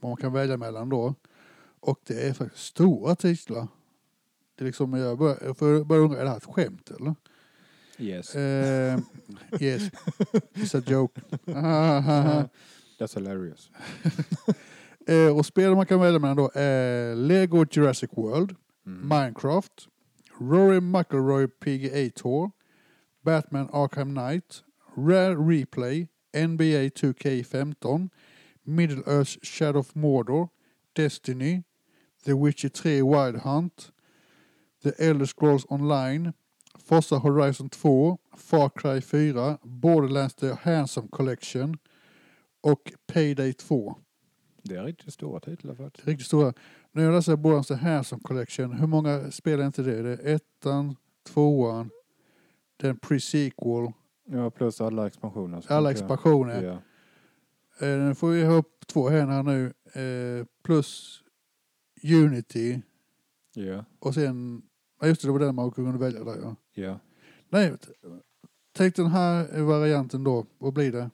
A: vad man kan välja mellan då. Och det är faktiskt stora titlar. Det är liksom, jag börjar, för jag börjar undra, är det här ett skämt eller?
B: Yes.
A: Eh, yes, it's a joke.
B: That's hilarious.
A: eh, och spel man kan välja mellan då är Lego Jurassic World.
B: Mm.
A: Minecraft, Rory McIlroy PGA Tour, Batman Arkham Knight, Rare Replay, NBA 2K15, Middle Earth Shadow of Mordor, Destiny, The Witcher 3 Wild Hunt, The Elder Scrolls Online, Forza Horizon 2, Far Cry 4, Borderlands The Handsome Collection och Payday 2.
B: Det är riktigt stora titlar faktiskt.
A: Riktigt stora. Nu alltså jag läser Borans The Handsome Collection. Hur många spelar inte det? Det är ettan, tvåan, den pre-sequel,
B: Ja, plus alla expansioner. som
A: alla
B: inte-
A: expansioner.
B: Ja.
A: Eh, Nu får vi ihop två här nu. Eh, plus Unity
B: Ja.
A: och sen... Ja just det, det var den man kunde välja där ja.
B: Ja.
A: Nej, t- tänk den här varianten då. Vad blir det?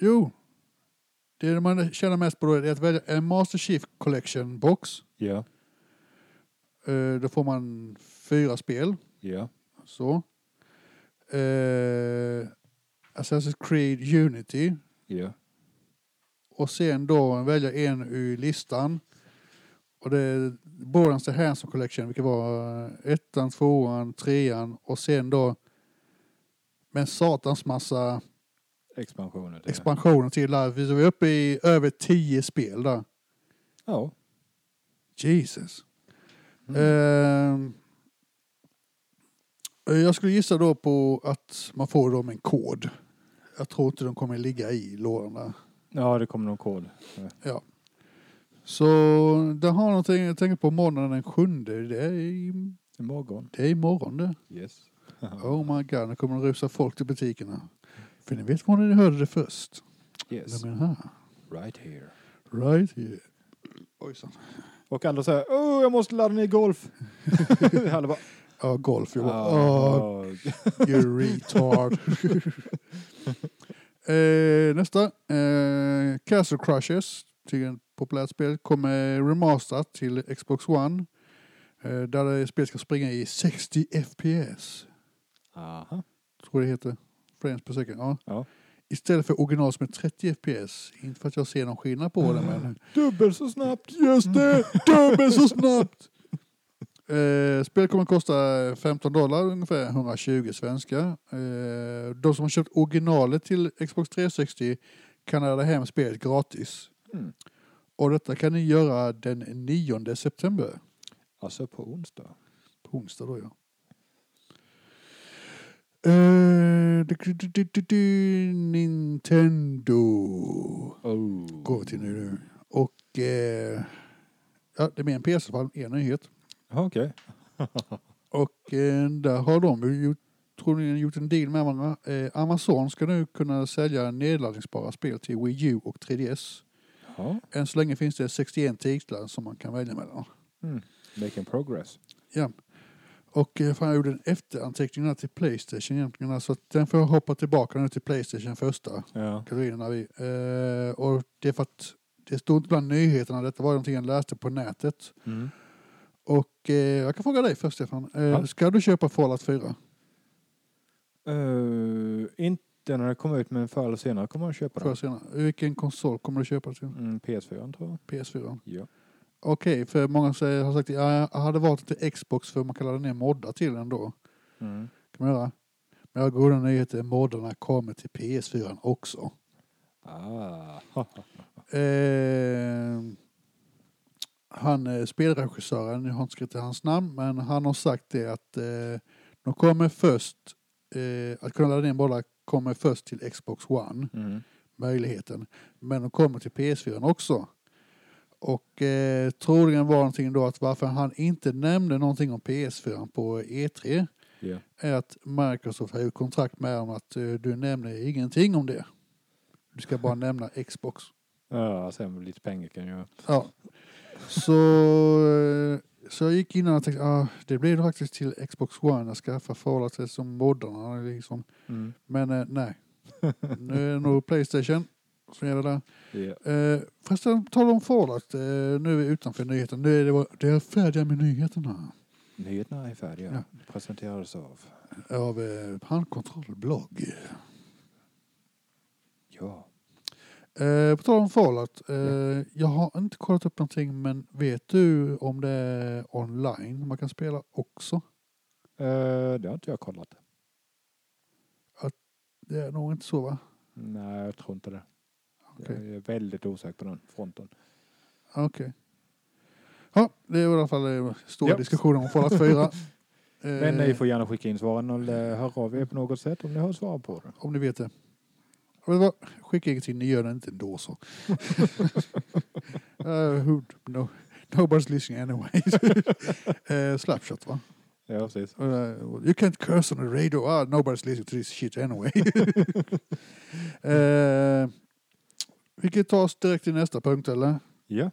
A: Jo, det man tjänar mest på då är att välja en Master Chief Collection box.
B: Ja.
A: Eh, då får man fyra spel.
B: Ja.
A: Så. Eh, Assassin's Creed Unity.
B: Ja.
A: Och sen då välja en ur listan. Och det är Borderlands The Handsome Collection, vilket var eh, ettan, tvåan, trean och sen då med en satans massa
B: Expansioner. till det.
A: expansioner till där. Vi är uppe i över tio spel där.
B: Ja.
A: Jesus.
B: Mm.
A: Eh, jag skulle gissa då på att man får dem en kod. Jag tror inte de kommer ligga i lådorna.
B: Ja, det kommer någon kod.
A: Så det har någonting jag tänker på måndagen den sjunde. Det är, i-
B: Imorgon.
A: det är imorgon det.
B: Yes.
A: Oh my god, nu kommer det rusa folk till butikerna. För ni vet var ni hörde det först.
B: Yes.
A: Vem är det här?
B: Right here.
A: Right here. Ojsan.
B: Och andra säger åh, jag måste ladda ner golf. Alla bara,
A: Ja, golf. Jag bara, "Åh,
B: "Ah, ah."
A: You retard. eh, nästa. Eh, Castle Crushers, tydligen ett populärt spel, kommer remasterat till Xbox One. Eh, där det spelet ska springa i 60 FPS.
B: Ah. Aha.
A: Tror det heter. Frames per second. Ja.
B: Ja.
A: Istället för original som är 30 FPS. Inte för att jag ser någon skillnad på det men
B: Dubbel så snabbt.
A: Just det! Dubbel så snabbt! Eh, spelet kommer att kosta 15 dollar, ungefär 120 svenska. Eh, de som har köpt originalet till Xbox 360 kan ladda hem spelet gratis.
B: Mm.
A: Och detta kan ni göra den 9 september.
B: Alltså på onsdag.
A: På onsdag då ja. Eh, du- du- du- du- du- du- Nintendo
B: Oh.
A: går vi till nu. Och eh, ja, det är mer en PS-fall, en nyhet.
B: Ja, Okej.
A: Och eh, där har de ju gjort troligen gjort en deal med varandra. Eh, Amazon ska nu kunna sälja nedladdningsbara spel till Wii U och 3DS.
B: Ja.
A: Än så länge finns det 61 titlar som man kan välja mellan.
B: Mm. Making progress.
A: Ja. Och eh, fan, jag gjorde en efteranteckning här till Playstation egentligen. här, Så att den får jag hoppa tillbaka nu till Playstation första
B: Ja.
A: kategorierna. Vi. Eh, och det är för att det stod inte bland nyheterna. Detta var någonting jag läste på nätet.
B: Mm.
A: Och eh, jag kan fråga dig först Stefan. Eh,
B: Ja.
A: Ska du köpa Fallout 4?
B: Eh, inte när det kommer ut, men förr eller senare kommer jag köpa
A: Får
B: den.
A: jag senare. Vilken konsol kommer du köpa till?
B: Mm, PS4 tror jag.
A: PS4?
B: Ja.
A: Okej, för många säger, har sagt att jag hade valt till Xbox för man kan ladda ner moddar till den då.
B: Mm.
A: Kan man göra. Men jag har goda nyheter, moddarna kommer till PS4 också.
B: Ah.
A: Eh, han eh, spelregissören, jag har inte skrivit hans namn, men han har sagt det att eh, de kommer först, eh, att kunna ladda ner bollar kommer först till Xbox One,
B: Mm.
A: möjligheten. Men de kommer till PS4 också. Och eh, troligen var någonting då att varför han inte nämnde någonting om PS4 på E3
B: Ja.
A: är att Microsoft har ju kontrakt med om att eh, du nämner ingenting om det. Du ska bara nämna Xbox.
B: Ja, sen lite pengar kan jag göra.
A: Ja. Så, eh, så jag gick in och tänkte ah, det blir det faktiskt till Xbox One att skaffa Fallout som moddarna. Liksom.
B: Mm.
A: Men eh, nej, nu är det nog Playstation som gäller där.
B: Ja.
A: Eh, förresten, på tal om Fallout, eh, nu är vi utanför nyheten. Nu är det, vår- det är färdiga med nyheterna
B: Nyheterna är färdiga. Presenterades av...
A: av eh, Handkontrollblogg.
B: Ja.
A: Eh, på tal om Fallout, eh, jag har inte kollat upp någonting men vet du om det är online man kan spela också?
B: Eh, det har inte jag kollat.
A: Det är nog inte så va?
B: Nej, jag tror inte det.
A: Okej.
B: Jag är väldigt osäker på den fronten.
A: Okej. Ja, det var i alla fall eh, stora
B: Ja.
A: diskussioner om Fallout 4.
B: Men
A: Eh,
B: ni får gärna skicka in svaren och eh, höra av er på något sätt om ni har svar på det.
A: Om ni vet det. Och vad- Skicka ingenting, ni gör det inte ändå så. uh, who, no, nobody's listening anyways. uh, slapshot va?
B: Ja, precis.
A: Uh, you can't curse on the radio. Ah, nobody's listening to this shit anyway. uh, vi kan ta oss direkt till nästa punkt eller?
B: Ja.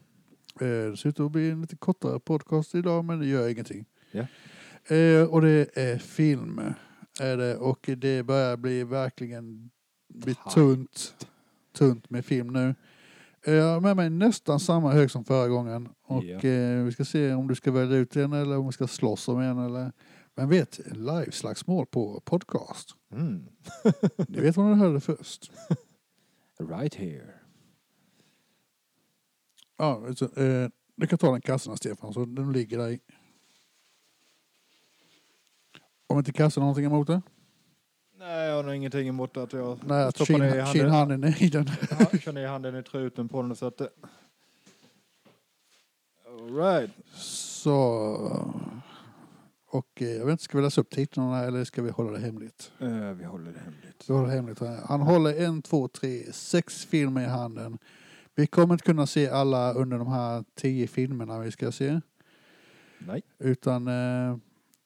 A: Eh, Det ser ut att bli en lite kortare podcast idag, men det gör ingenting.
B: Ja.
A: Eh, och det är film. Är det, och det börjar bli verkligen bli
B: Tajt.
A: tunt, tunt med film nu. Eh, Jag har med mig nästan samma hög som förra gången. Och
B: Ja.
A: eh, vi ska se om du ska välja ut en eller om vi ska slåss om en. Eller, vem vet, liveslagsmål på podcast.
B: Mm.
A: Ni vet vad ni hörde först.
B: Right here.
A: Ja, så, eh, du kan ta den kassan Stefan, så den ligger där i. Om inte kassan har någonting emot det?
B: Nej, jag har nog ingenting emot att jag
A: Nej, att
B: stoppar det i
A: kin-
B: handen.
A: kinhanden är i den.
B: Ja, kör ner handen i truten på den så att det... Alright.
A: Så... Och eh, jag vet inte, ska vi läsa upp titlarna eller ska vi hålla det hemligt?
B: Eh, vi håller det hemligt.
A: Vi håller det hemligt. här. Han håller en, två, tre, sex filmer i handen. Vi kommer inte kunna se alla under de här tio filmerna vi ska se.
B: Nej.
A: Utan eh,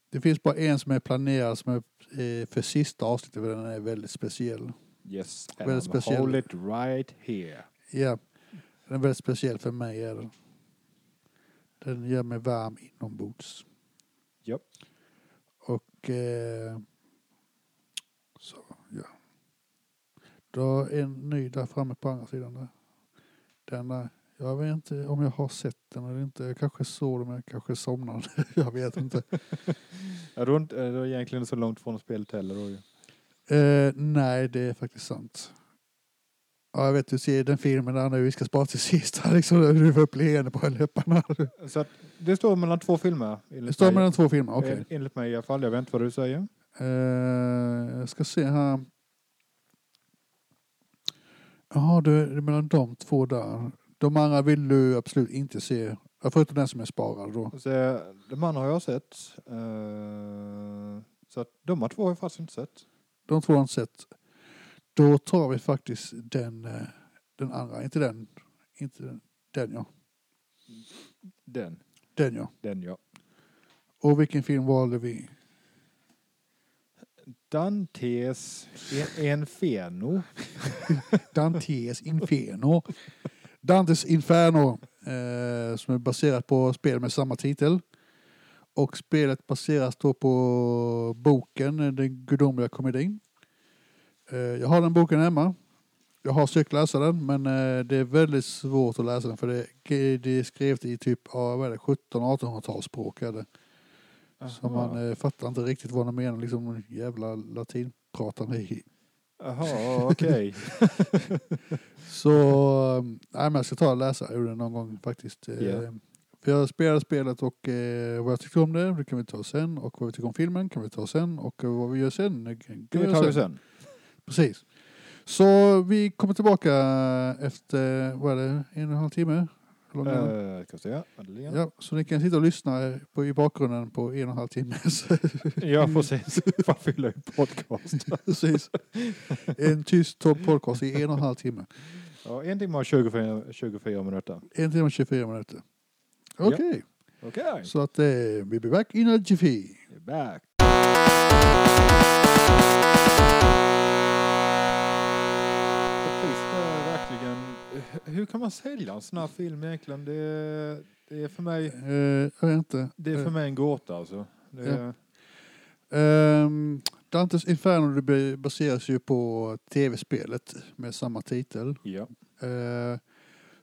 A: det finns bara en som är planerad som är, eh, för sista avsnittet för den är väldigt speciell.
B: Yes. And
A: Väldigt
B: I'm
A: speciell.
B: Hold it right here.
A: Ja, den är väldigt speciell för mig. Är den. den gör mig varm inombords.
B: Japp.
A: Och eh, så, ja. Du har en ny där framme på andra sidan där. Den där. Jag vet inte om jag har sett den eller inte. Jag kanske såg den men jag kanske somnade. jag vet inte.
B: Ja, du är inte- eh, du är egentligen så långt från spelet heller. då ju.
A: Eh, nej, det är faktiskt sant. Ja, jag vet, du ser den filmen där nu, vi ska spara till sist. Liksom, du får upp leende på läpparna.
B: Så att det står mellan två filmer. enligt
A: Det står
B: mig.
A: mellan två filmer, okej.
B: En- Enligt mig i alla fall. Jag vet inte vad du säger.
A: Eh, jag ska se här. Jaha, det är mellan de två där. De andra vill du absolut inte se. Ja, Förutom den som är sparad då.
B: Så, eh, de andra har jag sett. Eh, så att de här två har jag faktiskt inte sett.
A: De två har inte sett. Då tar vi faktiskt den, eh, den andra. Inte den. Inte den. Den ja.
B: Den.
A: Den ja.
B: Den ja.
A: Och vilken film valde vi?
B: Dantes en- Enfeno.
A: Dantes Inferno. Dantes Inferno, eh, som är baserat på spel med samma titel. Och spelet baseras då på boken eh, Den gudomliga komedin. Eh, jag har den boken hemma. Jag har försökt läsa den, men eh, det är väldigt svårt att läsa den för det, det är skrivet i typ ja, vad är det, 1700-1800-talsspråk. är det. Så man eh, fattar inte riktigt vad de menar, liksom jävla latinpratande
B: Jaha, okej.
A: Så, ehm, nej men jag ska ta och läsa ur den någon gång faktiskt. Eh,
B: Ja.
A: För jag spelade spelet och eh, vad jag tyckte om det, det kan vi ta sen. Och vad vi tycker om filmen kan vi ta sen. Och eh, vad vi gör sen, eh, kan
B: Det tar vi sen.
A: Precis. Så vi kommer tillbaka efter, vad är det, en och en halv timme? Hur lång är den?
B: Eh, ska vi se. Adeline.
A: Ja, så ni kan sitta och lyssna på, i bakgrunden på en och en halv timme. Så,
B: Ja, precis. Fan, fylla en podcast.
A: Precis. En tyst Todd podcast i en och en halv timme.
B: Ja, en timme och 24, 24 minuter.
A: En timme och 24 minuter.
B: Ja.
A: Okej.
B: Okej.
A: Så att eh, we'll be back in a jiffy.
B: You're back. Finns det verkligen... Hur kan man sälja en sån här film egentligen? Det är, det är, för, mig,
A: Eh, jag vet inte.
B: det är för mig en gåta alltså. Det är,
A: Ehm, Dantes Inferno det baseras ju på tv-spelet med samma titel.
B: ja.
A: Eh,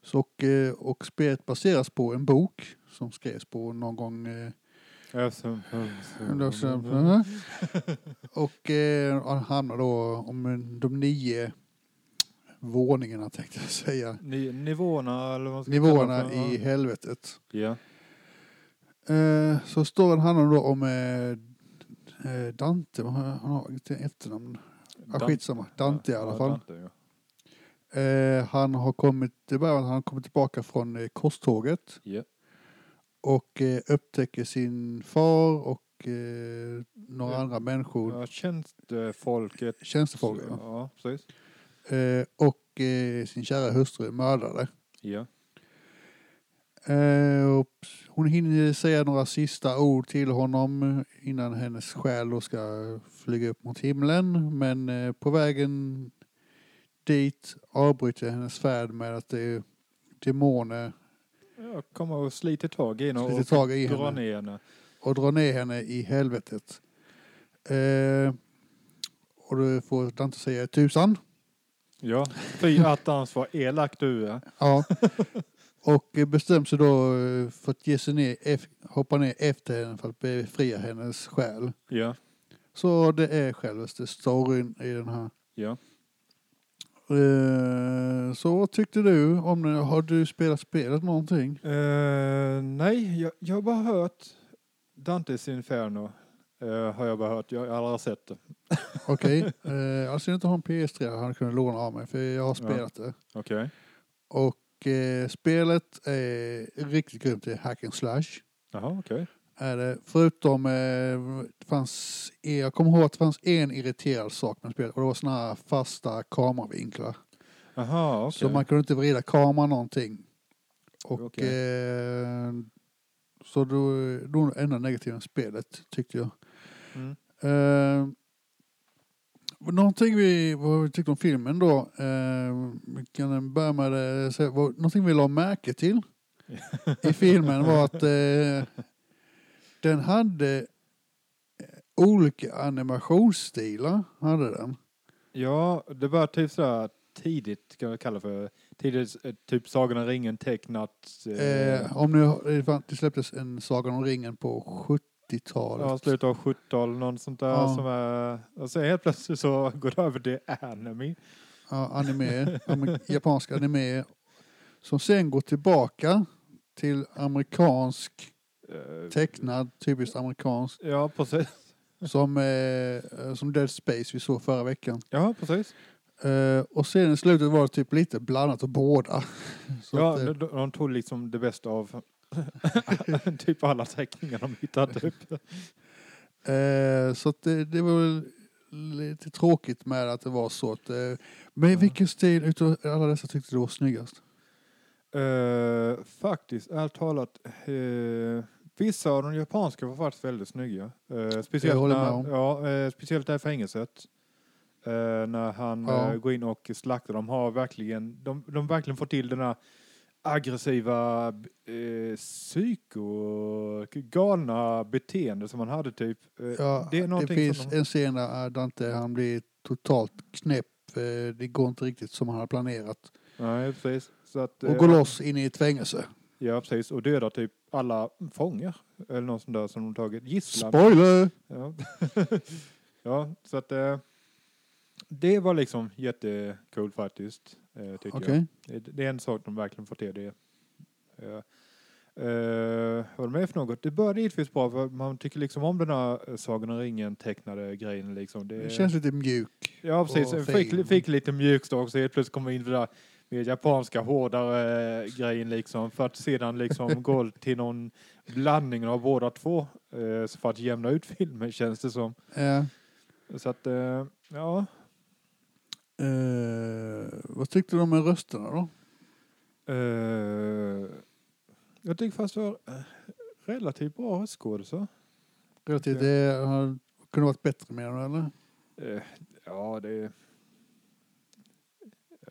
A: så, och, eh, och spelet baseras på en bok som skrevs på någon gång eh,
B: Alltså,
A: Och eh, han handlar då om de nio våningarna tänkte jag säga.
B: Ni, nivåerna eller vad man ska kalla det
A: Nivåerna
B: för.
A: i helvetet.
B: Ja.
A: Eh, så storyn handlar då om eh, eh, Dante, vad har han har inte efternamn. Ja,
B: Dan-
A: skitsamma, Dante i alla
B: Ja,
A: fall.
B: Dante, ja.
A: Eh, han har kommit, det börjar med att han har kommit tillbaka från eh, korståget
B: Ja.
A: och eh, upptäcker sin far och eh, några
B: Ja.
A: andra människor,
B: Ja, Tjänstefolket.
A: tjänstefolk, ja.
B: Ja, precis.
A: eh, och eh, sin kära hustru är mördade.
B: Ja.
A: Eh, och hon hinner säga några sista ord till honom innan hennes själ då ska flyga upp mot himlen. Men eh, på vägen dit avbryter hennes färd med att det är demoner
B: Jag kommer och sliter tag i henne
A: som
B: och
A: sliter tag i
B: drar
A: henne
B: ner henne.
A: och drar ner henne i helvetet. Eh, och då får Dante säga tusan.
B: Ja, fy attans vad elak du är.
A: Ja. Och eh, bestämmer sig då eh, för att ge sig ner, eff- hoppa ner efter henne för att befria hennes själ.
B: Ja,
A: Så det är självaste storyn i den här.
B: ja.
A: Eh, Så vad tyckte du om den? Har du spelat spelet någonting?
B: Eh, nej, jag, jag har bara hört Dantes Inferno. eh, har jag bara hört, jag har aldrig sett det.
A: Okej. Okay. Alltså jag inte har en PS3 hade han kunde låna av mig för jag har
B: Ja.
A: spelat det.
B: Okej.
A: Och eh, spelet är riktigt grymt. Det är hack and slash.
B: Jaha, okej.
A: Är det. Förutom, eh, det fanns, e- jag kommer ihåg att det fanns en irriterad sak med spelet och det var såna här fasta kameravinklar.
B: Jaha, okej.
A: Så man kunde inte vrida kameran någonting. Och
B: Okej.
A: eh, så då, då är det enda negativa med spelet tyckte jag.
B: Mm.
A: Eh, någonting vi, vad vi tyckte om filmen då, eh, vi kan börja med det, så, vad, någonting vi la märke till i filmen var att eh, den hade eh, olika animationsstilar. Hade den.
B: Ja, det var typ sådär tidigt, kan jag kalla för. Tidigt, eh, typ Sagan om ringen tecknat. eh,
A: Eh, om nu, det fann- det släpptes en Sagan om ringen på 70-talet.
B: Ja, slutet av 70-talet, någon sånt där
A: Ja.
B: som är... Och sen helt plötsligt så går det över till anime.
A: ja, anime, amer- japansk anime. Som sen går tillbaka till amerikansk,
B: Eh,
A: tecknad, typiskt amerikansk.
B: Ja, precis.
A: Som, eh, som Dead Space vi såg förra veckan.
B: Ja, precis.
A: Eh, och sen i slutet var det typ lite blandat och båda. Så
B: ja,
A: att, eh,
B: de, de- de tog liksom det bästa av typ alla teckningar de hittade. Typ.
A: Eh, så att det, det var väl lite tråkigt med att det var så. Att, eh, men
B: Ja.
A: vilken stil utav alla dessa tyckte du var snyggast?
B: Eh, faktiskt, ärligt talat, eh, Vissa av de japanska var faktiskt väldigt snygga. Eh,
A: Jag
B: speciellt,
A: håller med
B: när,
A: om.
B: ja, eh, speciellt det här fängelset. Eh, när han
A: Ja.
B: eh, går in och slaktar. De har verkligen, de, de verkligen får till den här aggressiva, eh, psyko, galna beteende som han hade typ. Eh,
A: Ja,
B: det är
A: det,
B: någonting
A: finns
B: som de,
A: en scen där äh, Dante han blir totalt knäpp. eh, Det går inte riktigt som han har planerat.
B: Nej, precis. Så att,
A: Och
B: eh,
A: går loss in i ett fängelse.
B: Ja, precis. Och dödar typ alla fångar. Eller någon sån där som de tagit gisslan.
A: Spoiler!
B: Ja. ja, så att eh, det var liksom jättekul faktiskt. Eh, tycker
A: Okej.
B: jag. Det, det är en sak de verkligen får till. Det. Eh, eh, vad är det med för något? Det började givetvis bra för man tycker liksom om den här eh, Sagan om ringen tecknade grejen liksom. Det,
A: Det känns lite mjuk.
B: Ja, precis.
A: och
B: Fick,
A: fin.
B: fick lite mjukstart så helt plötsligt kom vi in i det där med japanska hårdare eh, grejen liksom för att sedan liksom gå till någon blandning av båda två eh, så för att jämna ut filmen känns det som.
A: Ja.
B: Så att, eh, ja.
A: Eh, vad tyckte du om rösterna då?
B: Eh, jag tycker fast det var eh, relativt bra röstskådisar.
A: Relativt,
B: Okej.
A: det har, kunde varit bättre med dem eller?
B: Eh, ja, det...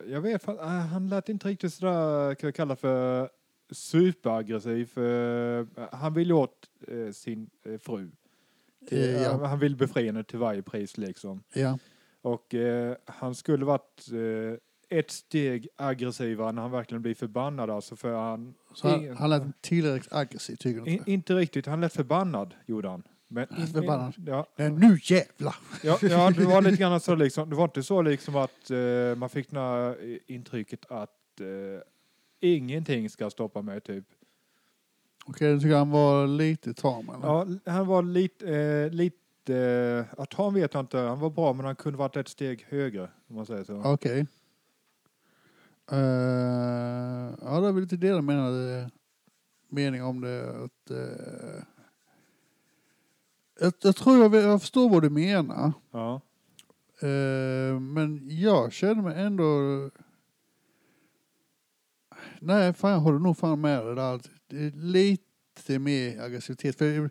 B: Jag vet fan, eh, han lät inte riktigt sådär, kan jag kalla för superaggressiv. Eh, han vill ju åt eh, sin eh, fru.
A: Eh,
B: Eh,
A: ja.
B: Han vill befria henne till varje pris liksom.
A: Ja.
B: Och eh, han skulle varit eh, ett steg aggressivare när han verkligen blir förbannad alltså för han...
A: Så han,
B: Ingen-
A: han lät tillräckligt aggressiv tycker du
B: I,
A: inte?
B: inte riktigt, han lät förbannad gjorde han. Men,
A: Han lät förbannad.
B: Ja,
A: Nej, nu jävlar!
B: Ja, ja, det var lite grann så liksom. Det var inte så liksom att eh, man fick det här intrycket att eh, ingenting ska stoppa mig typ.
A: Okej, du tycker han var lite tam eller?
B: Ja, han var lite, eh, lite, eh, att han vet jag inte, han var bra men han kunde varit ett steg högre om man säger så. Ja,
A: Okej. Eh, ja, det är väl lite det jag menade. Mening om det. Att, eh, jag, jag tror jag, jag förstår vad du menar.
B: ja,
A: Eh, men jag känner mig ändå... Nej, fan, jag håller nog fan med dig där. Det är Lite mer aggressivitet. För,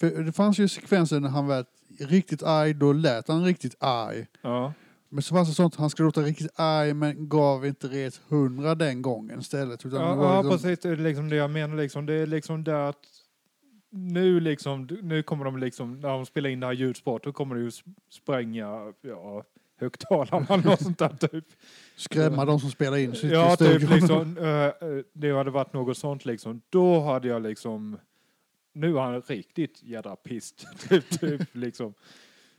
A: för det fanns ju sekvenser när han var riktigt arg, då lät han riktigt arg.
B: ja,
A: Men så fanns det sånt, han skulle låta riktigt arg men gav inte rätt hundra den gången istället. Utan det var
B: ja,
A: liksom,
B: precis, det är liksom det jag menar liksom. Det är liksom där att nu liksom, nu kommer de liksom, när de spelar in det här ljudspåret, då kommer det ju sp- spränga, ja, högtalarna eller något sånt där typ.
A: skrämma de som spelar in sitt
B: Ja,
A: i
B: typ
A: studion.
B: liksom, eh, eh, det hade varit något sånt liksom. Då hade jag liksom, nu är han riktigt jädra pist. typ, typ, liksom.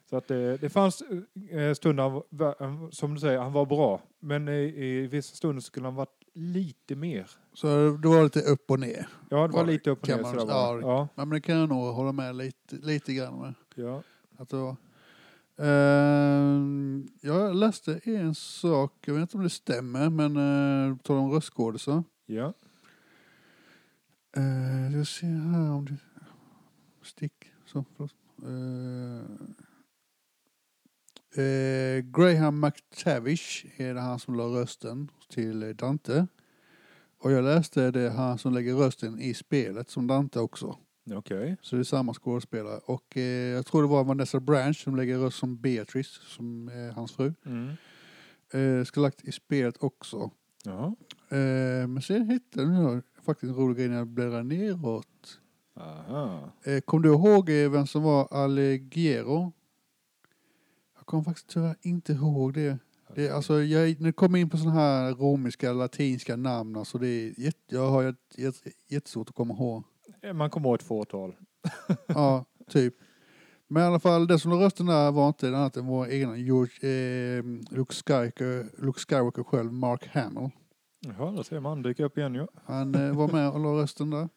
B: Så att det, det fanns eh, stunder, han var- som du säger, han var bra. Men i, i vissa stunder skulle han varit lite mer.
A: Så det var lite upp och ner.
B: Ja, det var
A: Var-
B: lite upp och
A: kan
B: ner.
A: man-
B: sådär var det. Ja,
A: Ja, men det kan jag nog hålla med lite, lite grann med.
B: ja.
A: Att det var. Ehm, jag läste en sak, jag vet inte om det stämmer, men uh, på tal om röstskådisar.
B: ja.
A: Uh, jag ser här om det... Stick. Så, förlåt. Eh, eh, Graham McTavish är det han som la rösten till eh, Dante. Och jag läste det är han som lägger rösten i spelet som Dante också.
B: Okej.
A: Så det är samma skådespelare. Och eh, jag tror det var Vanessa Branch som lägger röst som Beatrice, som är hans fru.
B: Mm.
A: Eh, ska lagt i spelet också.
B: Ja.
A: Eh, men sen hittade jag faktiskt en rolig grej när jag bläddrade neråt.
B: Aha.
A: Eh, kom du ihåg eh, vem som var Alighiero? Jag kommer faktiskt tyvärr inte ihåg det. det är alltså, jag, när jag kommer in på sådana här romerska, latinska namn, alltså det är jätte, jag har jätt, jätt, jättesvårt att komma ihåg.
B: Eh, Man kommer åt ett fåtal.
A: Ja, typ. Men i alla fall, det som la rösten där var inte annat än vår egna George, eh, Luke, Skywalker, Luke Skywalker själv, Mark Hamill.
B: Jaha, där ser man. Dyker upp igen ja.
A: Han eh, var med och la rösten där.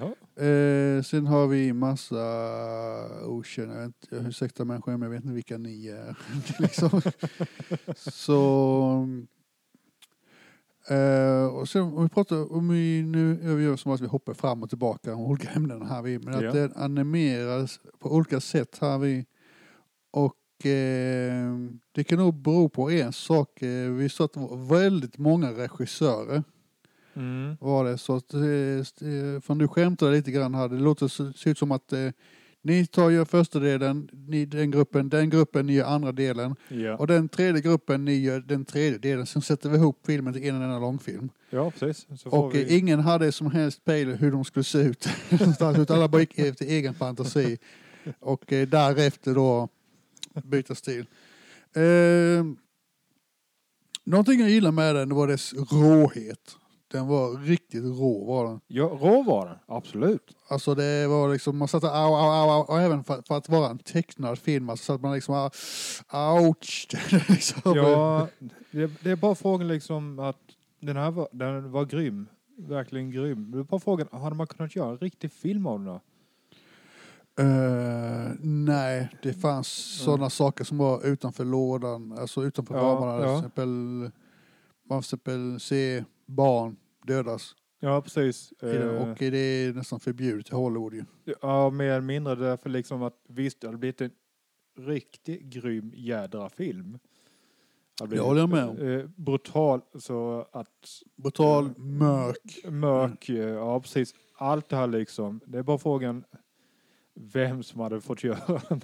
B: Jaha.
A: Eh, sen har vi massa okänd, jag vet inte, jag ursäkta människor, men jag vet inte vilka ni är. liksom. Så... Eh, och sen om vi pratar om vi nu är vi gör som att vi hoppar fram och tillbaka om olika ämnen här vi, men
B: Ja.
A: att den animeras på olika sätt här vi. Och eh, det kan nog bero på en sak. Eh, Vi sa att det var väldigt många regissörer
B: Mm.
A: var det. Så att, eh, st- eh, för nu skämtar jag lite grann här. Det låter så- ser ut som att eh, ni tar ju första delen, ni den gruppen, den gruppen, ni gör andra delen.
B: Ja.
A: Och den tredje gruppen, ni gör den tredje delen. Sen sätter vi ihop filmen till en enda långfilm.
B: ja, precis. Så får
A: Och eh,
B: vi...
A: ingen hade som helst pejl hur de skulle se ut. Någonstans, Utan alla bara gick efter egen fantasi. Och eh, därefter då byta stil. Eh, någonting jag gillade med den var dess råhet. Den var riktigt rå var den.
B: Ja, råvaran, absolut.
A: Alltså det var liksom, man satt och au, au, au, au, och även för, för att vara en tecknad film, alltså, så att man liksom, ah, ouch. liksom.
B: Ja, det, det är bara frågan liksom att den här var, den var grym. Verkligen grym. Det är bara frågan, hade man kunnat göra en riktig film av den då?
A: Eh, nej, det fanns
B: Mm.
A: sådana saker som var utanför lådan, alltså utanför
B: Ja,
A: ramarna. Till
B: ja.
A: exempel, man får till exempel se barn dödas.
B: Ja, precis.
A: i den,
B: Eh,
A: Och det är nästan förbjudet i Hollywood ju.
B: Ja, mer eller mindre därför liksom att visst, det hade blivit en riktigt grym jädra film. Det hade
A: Det håller jag med om.
B: eh, Brutal, så att
A: Brutal,
B: Mm.
A: mörk.
B: mörk, eh, ja precis. Allt det här liksom. Det är bara frågan vem som hade fått göra den.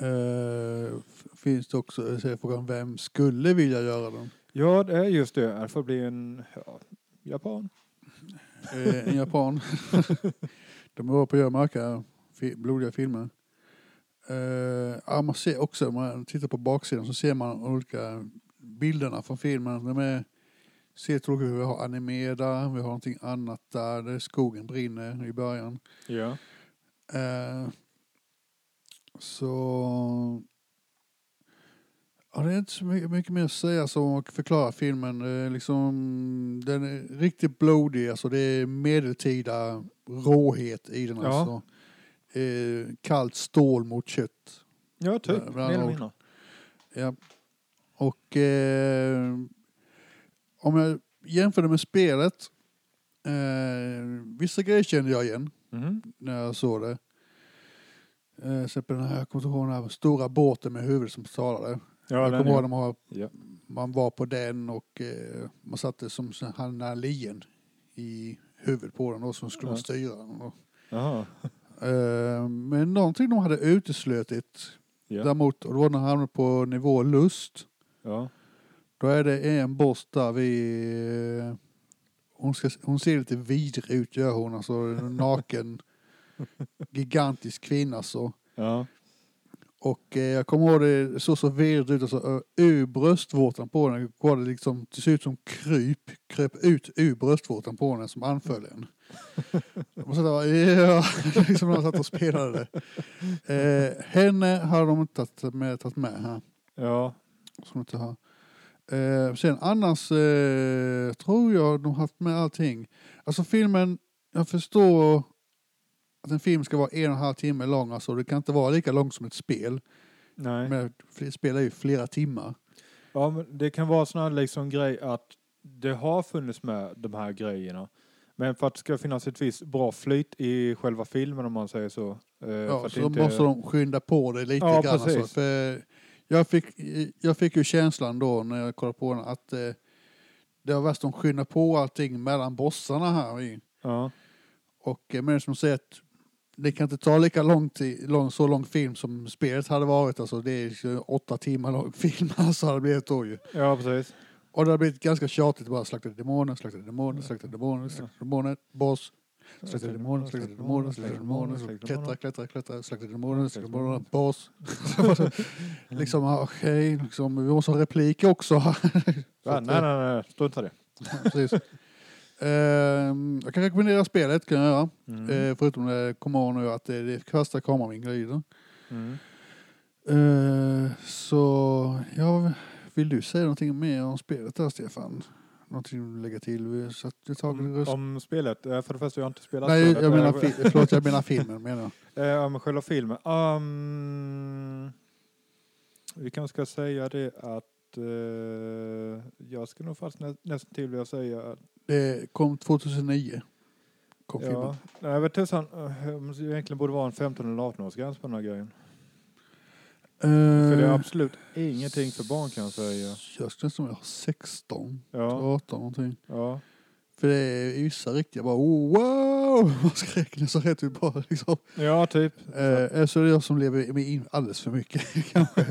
A: Eh, f- finns det också, så är frågan vem skulle vilja göra den?
B: Ja, det är just det. Det får bli en ja, japan.
A: Eh, en japan. De är bra på att göra mörka, fi- blodiga filmer. Eh, ja, man ser också, om man tittar på baksidan så ser man olika bilderna från filmen. De är, ser till exempel, vi har anime där, vi har någonting annat där, där skogen brinner i början.
B: Ja.
A: Eh, så... Ja, det är inte så mycket, mycket mer att säga som att förklara filmen. Det är liksom, den är riktigt blodig, alltså det är medeltida råhet i den.
B: Ja.
A: Alltså. Eh, kallt stål mot kött.
B: Ja, typ.
A: Bland-
B: Mer
A: bland
B: eller
A: ord.
B: mindre.
A: Ja. Och eh, om jag jämför det med spelet. Eh, vissa grejer kände jag igen.
B: Mhm.
A: när jag såg det. Eh, så på den här, jag kommer inte ihåg den här stora båten med huvudet som talade.
B: Ja,
A: jag
B: den
A: kommer ihåg när
B: är,
A: man, har-
B: Ja.
A: man var på den och eh, man satte som sån här nalien i huvudet på den och så skulle man
B: Ja.
A: styra den. Och,
B: Jaha.
A: eh, men någonting de hade uteslutit
B: Ja.
A: däremot, och då var när han hamnade på nivå lust.
B: Ja.
A: Då är det en boss där vi... eh, Hon, ska, hon ser lite vidrig ut gör hon, alltså en naken gigantisk kvinna så.
B: Ja.
A: Och eh, jag kommer ihåg det såg så virrigt ut, alltså ö- ur bröstvårtan på henne går det liksom, det ser ut som kryp, kröp ut ur bröstvårtan på henne som anföll en. Man satt och bara, ja, liksom när man satt och spelade det. Eh, henne har de inte tagit med, tagit med här
B: Ja.
A: som inte har. Eh, sen annars eh, tror jag de har haft med allting. Alltså filmen, jag förstår att en film ska vara en och en halv timme lång. Alltså det kan inte vara lika långt som ett spel.
B: Nej.
A: Men fl- spel är ju flera timmar.
B: Ja, men det kan vara sån här liksom grej att det har funnits med de här grejerna. Men för att det ska finnas ett visst bra flyt i själva filmen om man säger så. eh, för
A: Ja,
B: att
A: så
B: det
A: då måste de skynda på det lite
B: Ja,
A: grann. Alltså,
B: precis.
A: för jag, fick, jag fick ju känslan då när jag kollade på den att eh, det var värst de skyndar på allting mellan bossarna här i.
B: Ja,
A: Och eh, men som säger att det kan inte ta lika lång, tid, lång så lång film som spelet hade varit. Alltså det är ju åtta timmar lång film. Alltså hade det blivit då ju.
B: ja precis.
A: Och det hade blivit ganska tjatigt bara slakta demoner, slakta demoner, slakta demoner, slakta demoner, boss. Slakta demoner, slakta demoner, slakta demoner, slakta- klättra, klättra, klättra, slakta demoner, slakta demoner, boss. liksom, ja, okej, liksom, vi måste ha replik också. Så
B: Ja,
A: att,
B: nej, nej, nej, strunta i det.
A: Precis. Ehm, jag kan rekommendera spelet, kan jag göra.
B: Mm.
A: Eh, förutom det kommer jag nu att det, det kastar kameravinkeln i den.
B: Mm.
A: Eh, så, ja, vill du säga någonting mer om spelet där, Stefan? Någonting du lägga till? Vi satte tag i
B: Om,
A: röst.
B: om spelet, eh, för det första jag har inte spelat
A: Nej,
B: spelet.
A: jag menar,
B: Eh,
A: fi- förlåt, jag menar filmen menar jag.
B: Eh, om själva filmen. Um, vi kanske ska säga det att eh, jag skulle nog faktiskt nä, nästan till vilja säga att
A: Det kom 2009. Kom filmen.
B: Ja. Nej, jag vet tusan, eh, om det egentligen borde vara en 15 eller 18-årsgräns på den här grejen. För det är
A: Eh,
B: absolut ingenting för barn kan jag säga.
A: Jag skulle nästan vilja ha 16,
B: Ja,
A: 18 någonting.
B: ja.
A: För det är vissa riktiga bara oh, wow, man skräck nästan rätt ut bara liksom.
B: Ja, typ.
A: Eh, så det är jag som lever med in alldeles för mycket kanske.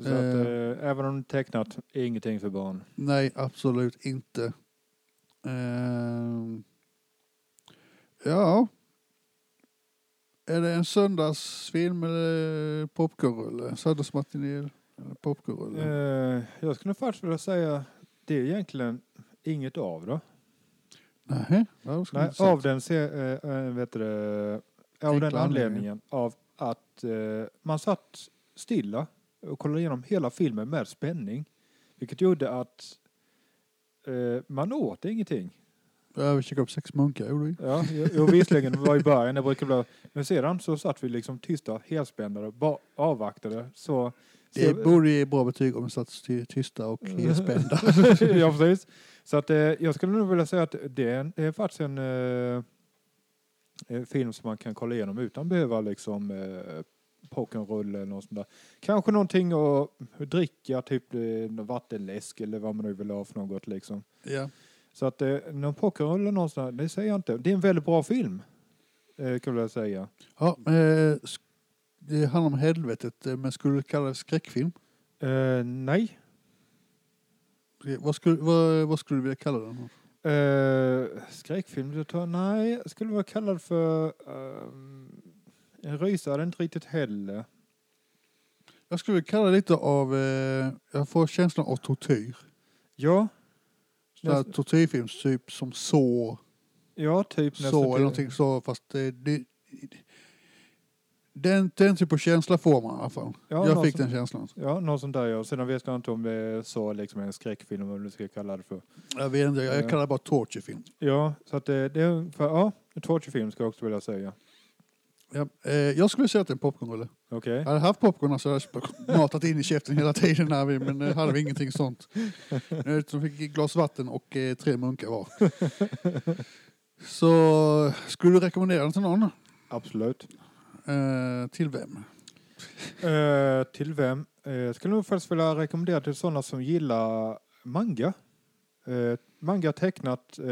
B: Så att, eh, även om det är tecknat, är ingenting för barn.
A: Nej, absolut inte. Ehm. ja. Är det en söndagsfilm eller popcornrulle? Söndagsmatiné eller popcornrulle?
B: Eh, jag skulle faktiskt vilja säga, det är egentligen inget av det.
A: Nej, det skulle jag
B: Nej,
A: inte säga.
B: av den, se, eh, eh, vet du, det, av
A: Enkla
B: den
A: anledningen.
B: anledningen av att eh, man satt stilla och kollade igenom hela filmen med spänning. Vilket gjorde att eh, man åt ingenting.
A: Ja, vi checkade upp sex munkar gjorde vi.
B: Ja, jo, jo, visserligen var i början, det brukar bli... Men sedan så satt vi liksom tysta, helspända och bara avvaktade. Så,
A: Det
B: så,
A: borde ge bra betyg om vi satt ty- tysta och helspända.
B: ja, precis. Så att, eh, jag skulle nog vilja säga att det är, en, det är faktiskt en eh, eh, film som man kan kolla igenom utan behöva liksom eh, pockenrulle eller något sånt där. Kanske någonting att dricka, typ eh, någon vattenläsk eller vad man nu vill ha för något liksom.
A: ja.
B: Så att eh, någon pockenrulle eller något sånt där, det säger jag inte. Det är en väldigt bra film, eh, kan jag säga.
A: Ja, eh, sk- det handlar om helvetet, eh, men skulle du kalla det skräckfilm?
B: Eh, nej.
A: Eh, Vad skulle, vad, vad skulle du vilja kalla den?
B: Eh, skräckfilm? Jag tror, nej, jag skulle vara kallad för... ehm, en rysare inte riktigt heller.
A: Jag skulle vilja kalla det lite av, eh, jag får känslan av tortyr.
B: Ja,
A: Sån här
B: Nästan.
A: tortyrfilm, typ som så,
B: ja typ nästan
A: så eller någonting så, fast eh, det, den, den typen av känsla får man i alla fall.
B: Ja,
A: jag
B: någon
A: fick
B: sån-
A: den känslan.
B: Ja, något sånt där ja. Sedan vet jag inte om det är så liksom en skräckfilm, vad du ska kalla det för.
A: Jag vet inte, jag
B: Ja.
A: kallar det bara torturfilm.
B: Ja, så att det, det är ungefär, ja, en torturfilm ska jag också vilja säga.
A: Ja, eh, jag skulle säga att det är en popcornrulle.
B: Okej.
A: Jag hade haft popcorn så hade jag matat in i käften hela tiden när vi, men eh, hade vi ingenting sånt. Nu så fick jag ett glas vatten och eh, tre munkar var. Så skulle du rekommendera den till någon?
B: Absolut.
A: Eh, till vem?
B: Eh, till vem? Eh, jag skulle nog faktiskt vilja rekommendera till sådana som gillar manga. Eh, manga tecknat, eh,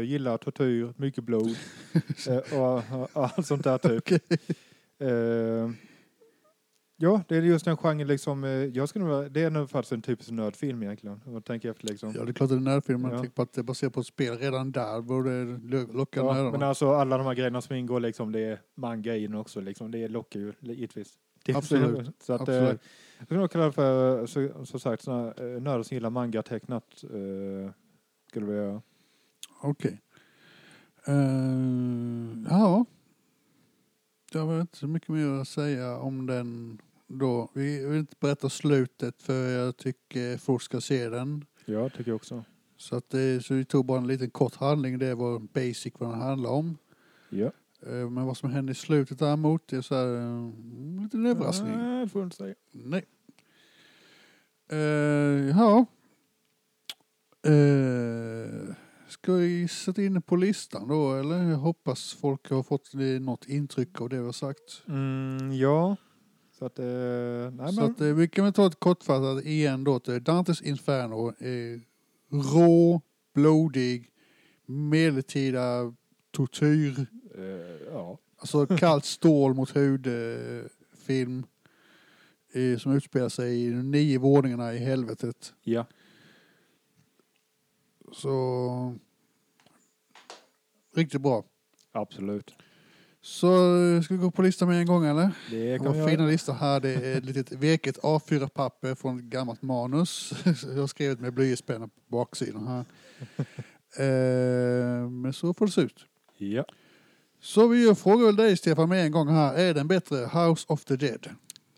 B: gillar tortyr, mycket blod eh, och, och, allt sånt där typ. Eh, ja, det är just den genren liksom. Eh, jag skulle nog, vilja- det är nog faktiskt en typisk nördfilm egentligen. Om man tänker efter liksom.
A: Ja, det är klart att det är närfilm, men
B: Ja.
A: jag tänker på att det är baserat på ett spel. Redan där borde lo- locka
B: Ja,
A: nördarna.
B: men alltså alla de här grejerna som ingår liksom, det är manga i den också liksom. Det lockar ju givetvis. Det är-
A: Absolut,
B: Så att, eh,
A: Absolut.
B: jag skulle nog kalla det för, så, som sagt, såna, eh, nördar som gillar manga tecknat. Eh, skulle vi göra.
A: Okej. Eh, ja. Det var inte så mycket mer att säga om den då. Vi vill inte berätta slutet för jag tycker folk ska se den.
B: Ja, tycker jag också.
A: Så, att det, så vi tog bara en liten kort handling. Det var basic vad den handlar om.
B: Ja.
A: Eh, Men vad som händer i slutet däremot det är så här, eh, en liten överraskning.
B: Nej, det får jag inte säga.
A: Nej. Eh, ja. Eh, ska vi sätta in på listan då eller? Jag hoppas folk har fått eh, något intryck av det vi har sagt.
B: Mm, ja. Så att, eh, nej
A: Så
B: men.
A: att, eh, vi kan väl ta ett kortfattat igen då. Till Dantes Inferno är rå, blodig, medeltida tortyr.
B: eh, ja.
A: Alltså kallt stål mot hud eh, film. Eh, som utspelar sig i de nio våningarna i helvetet.
B: Ja.
A: Så riktigt bra.
B: Absolut.
A: Så eh, ska vi gå på listan med en gång eller?
B: Det kan vi
A: Vår
B: göra.
A: fina lista här det är ett litet veket A4-papper från ett gammalt manus. Jag har skrivit med blyertspenna på baksidan här. Eh, Men så får det se ut.
B: Ja.
A: Så vi gör frågar väl dig Stefan med en gång här. Är den bättre House of the Dead?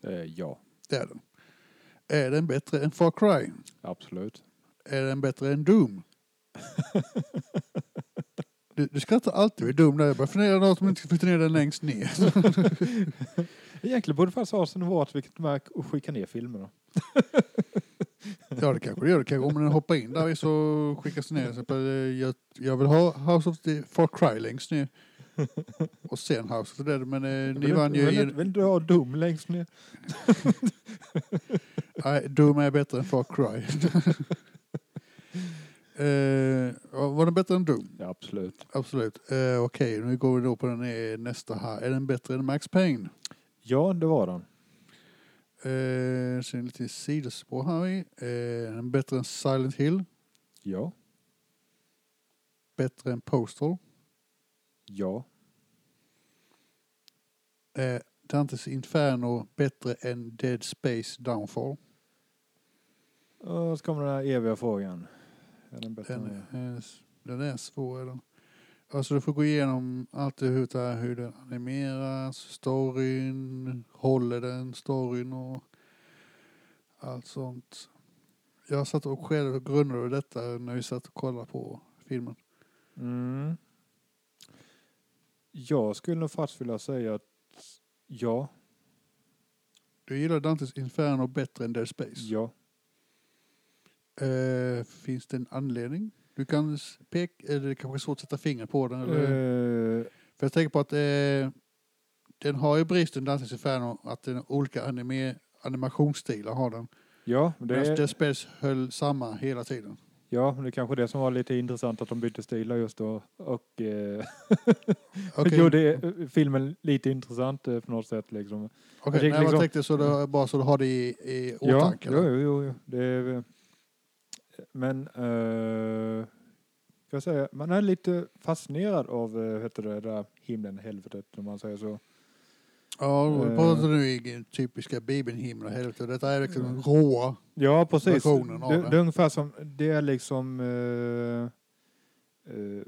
B: Eh, ja.
A: Det är den. Är den bättre än Far Cry?
B: Absolut.
A: Är den bättre än Doom? Du, du skrattar alltid vid Doom där. Jag börjar fundera något om jag inte ska flytta ner den längst ner.
B: Egentligen borde det faktiskt ha sin vart vilket märk och skicka ner filmerna.
A: Ja, det kanske det gör. Det kanske, om den hoppar in där så skickas den ner. Så bara, eh, Jag, jag vill ha House of the Far Cry längst ner. Och sen House of the Dead. Men eh, ni
B: Vill
A: vann
B: du- Vill,
A: ju.
B: du- vill du ha Doom längst ner?
A: Nej, Doom är bättre än Far Cry. Eh, ja, var den bättre än Doom?
B: Ja, absolut.
A: Absolut. Eh, Okej, nu går vi då på den eh, nästa här. Är den bättre än Max Payne?
B: Ja, det var den.
A: Eh, sen lite sidospår här i. Eh, är den bättre än Silent Hill?
B: Ja.
A: Bättre än Postal?
B: Ja.
A: Eh, Dantes Inferno bättre än Dead Space Downfall?
B: Och så kommer den här eviga frågan. Är den bättre
A: Den,
B: än
A: är, den är svår. är den. Alltså du får gå igenom allt det hur, det är, hur den animeras, storyn, håller den storyn och allt sånt. Jag satt och själv och grundade över detta när vi satt och kollade på filmen.
B: Mm. Jag skulle nog faktiskt vilja säga att ja,
A: Du gillar Dantes Inferno bättre än Dead Space.
B: ja.
A: Eh, finns det en anledning? Du kan s- peka, eller det kanske är svårt att sätta fingret på den. Eller?
B: Eh,
A: För jag tänker på att eh, den har ju bristen, Dantes Inferno, att den har olika anime, animationsstilar. Har den.
B: ja, det
A: Medan
B: är,
A: Dead Space höll samma hela tiden.
B: ja, det är kanske det som var lite intressant att de bytte stilar just då. Och eh,
A: Okej,
B: gjorde eh, filmen lite intressant eh, på något sätt. Liksom.
A: okej,
B: jag tänker
A: nej, jag
B: liksom-
A: tänkte så det, bara så du har det i, i
B: Ja,
A: åtanke.
B: jo, jo, jo, jo. Det är, eh, men eh, ska jag säga, man är lite fascinerad av eh, heter det, det där himlen, helvetet om man säger så.
A: Ja,
B: Eh.
A: vi pratar nu i typiska Bibeln, himmel och helvete. Detta är liksom
B: Mm.
A: råa.
B: Ja, precis.
A: versionen av
B: det,
A: det.
B: det är ungefär som, det är liksom... Eh, eh,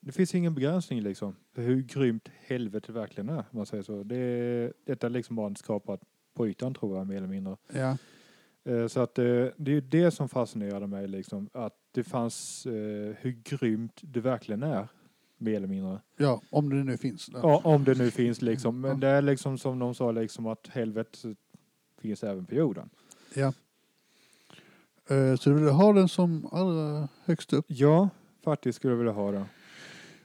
B: det finns ingen begränsning liksom, för hur grymt helvetet verkligen är. Om man säger så. Det, är- detta är liksom bara skrapat på ytan tror jag, mer eller mindre.
A: Ja.
B: Eh, så att eh, det är ju det som fascinerade mig, liksom, att det fanns eh, hur grymt det verkligen är. Mer eller mindre.
A: ja, om det nu finns. där.
B: Ja, om det nu finns liksom. Men
A: Ja.
B: det är liksom som de sa, liksom att helvetet finns även på jorden.
A: Eh, så du vill ha den som allra högst upp.
B: Ja, faktiskt skulle jag vilja ha det.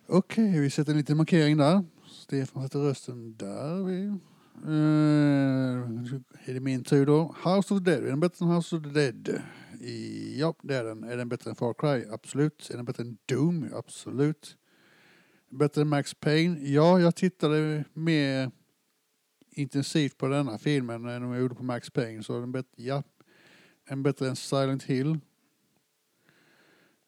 A: Okej, vi sätter en liten markering där. Stefan sätter rösten där. Vi. Eh, är det min tur då? House of the Dead, är den bättre än House of the Dead? I, ja, det är den. Är den bättre än Far Cry? Absolut. Är den bättre än Doom? Absolut. Bättre än Max Payne? Ja, jag tittade mer intensivt på denna filmen än vad jag gjorde på Max Payne. Så är den bättre, ja. Är den bättre än Silent Hill?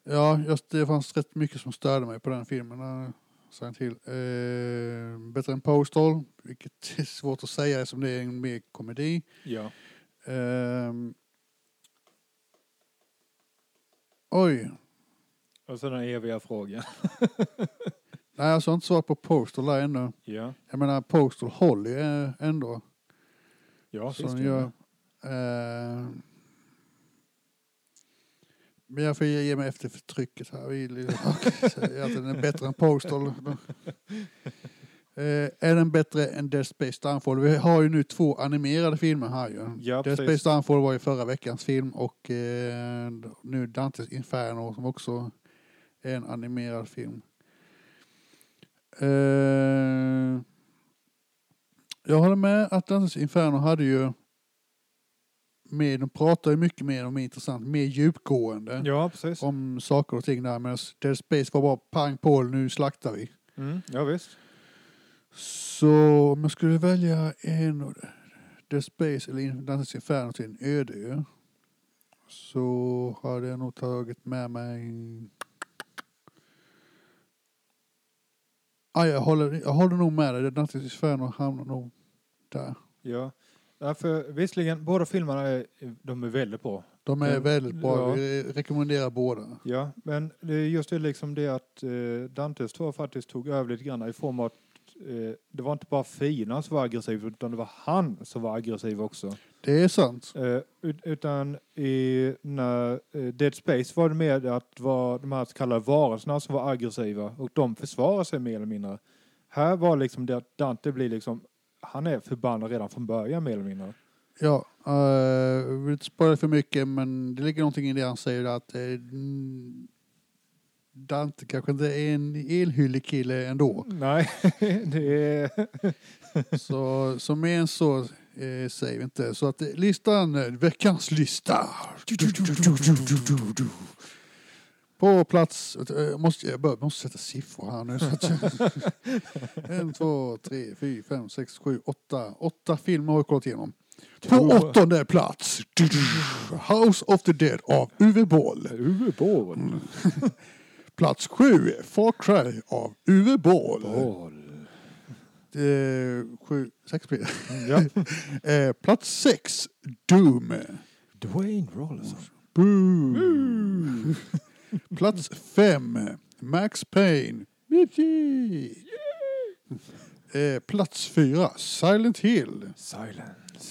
A: Ja, just det fanns rätt mycket som störde mig på den filmen. eh, Silent Hill. Eh, bättre än Postal, vilket är svårt att säga eftersom det är en mer komedi.
B: Ja.
A: Ehm. oj,
B: Och så den eviga frågan.
A: nej alltså jag har inte svarat på Postal där ännu.
B: Ja,
A: Jag menar Postal håller ju eh, ändå.
B: ja
A: som gör, eh, men jag får ge ge mig efter förtrycket här. Vi vill ju säga att den är bättre än Postal. Eh, är den bättre än Dead Space Downfall? Vi har ju nu två animerade filmer här ju.
B: Ja,
A: Dead
B: precis.
A: Space Downfall var ju förra veckans film och eh, nu Dantes Inferno som också är en animerad film. Eh, jag håller med att Dantes Inferno hade ju mer, de pratar ju mycket mer om intressant, mer djupgående
B: Ja, precis.
A: om saker och ting där medan Dead Space var bara pang på, nu slaktar vi.
B: Mm, ja, visst.
A: Så om jag skulle välja en av The Space eller Dantes Inferno till en öde ö, så hade jag nog tagit med mig... Ah, jag, håller, jag håller nog med dig, Dantes Inferno hamnar nog där.
B: Ja. Ja, för visserligen, båda filmerna är, de är väldigt bra.
A: De är
B: Ja,
A: väldigt bra,
B: ja.
A: vi rekommenderar båda.
B: Ja, men det är just det liksom det att eh, Dantes tror jag faktiskt tog över lite grann i form av att eh, det var inte bara fienden som var aggressiv utan det var han som var aggressiv också.
A: Det är sant.
B: Eh, ut- utan i när, eh, Dead Space var det mer att var de här så kallade varelserna som var aggressiva och de försvarade sig mer eller mindre. Här var liksom det att Dante blir liksom, han är förbannad redan från början mer eller mindre.
A: Ja, eh, jag vill inte spoila för mycket men det ligger någonting i det han säger att eh, mm, Dante kanske inte är en elhyllig kille ändå.
B: Nej, det är...
A: så som är en så eh, säger vi inte. Så att eh, listan, eh, veckans lista. På plats... eh, Måste, jag bör- måste sätta siffror här nu. Så att, en, två, tre, fyra, fem, sex, sju, åtta. Åtta filmer har jag kollat igenom. På
B: Två.
A: åttonde plats. House of the Dead av Uwe Boll.
B: Uwe Boll.
A: Plats sju, Far Cry av Uwe Boll.
B: Boll.
A: Eh, sju, sex blir det.
B: Ja.
A: Eh, plats sex, Doom.
B: Dwayne Rollison.
A: Boom. Plats fem, Max Payne. Yippee. Eh, plats fyra, Silent Hill.
B: Silence.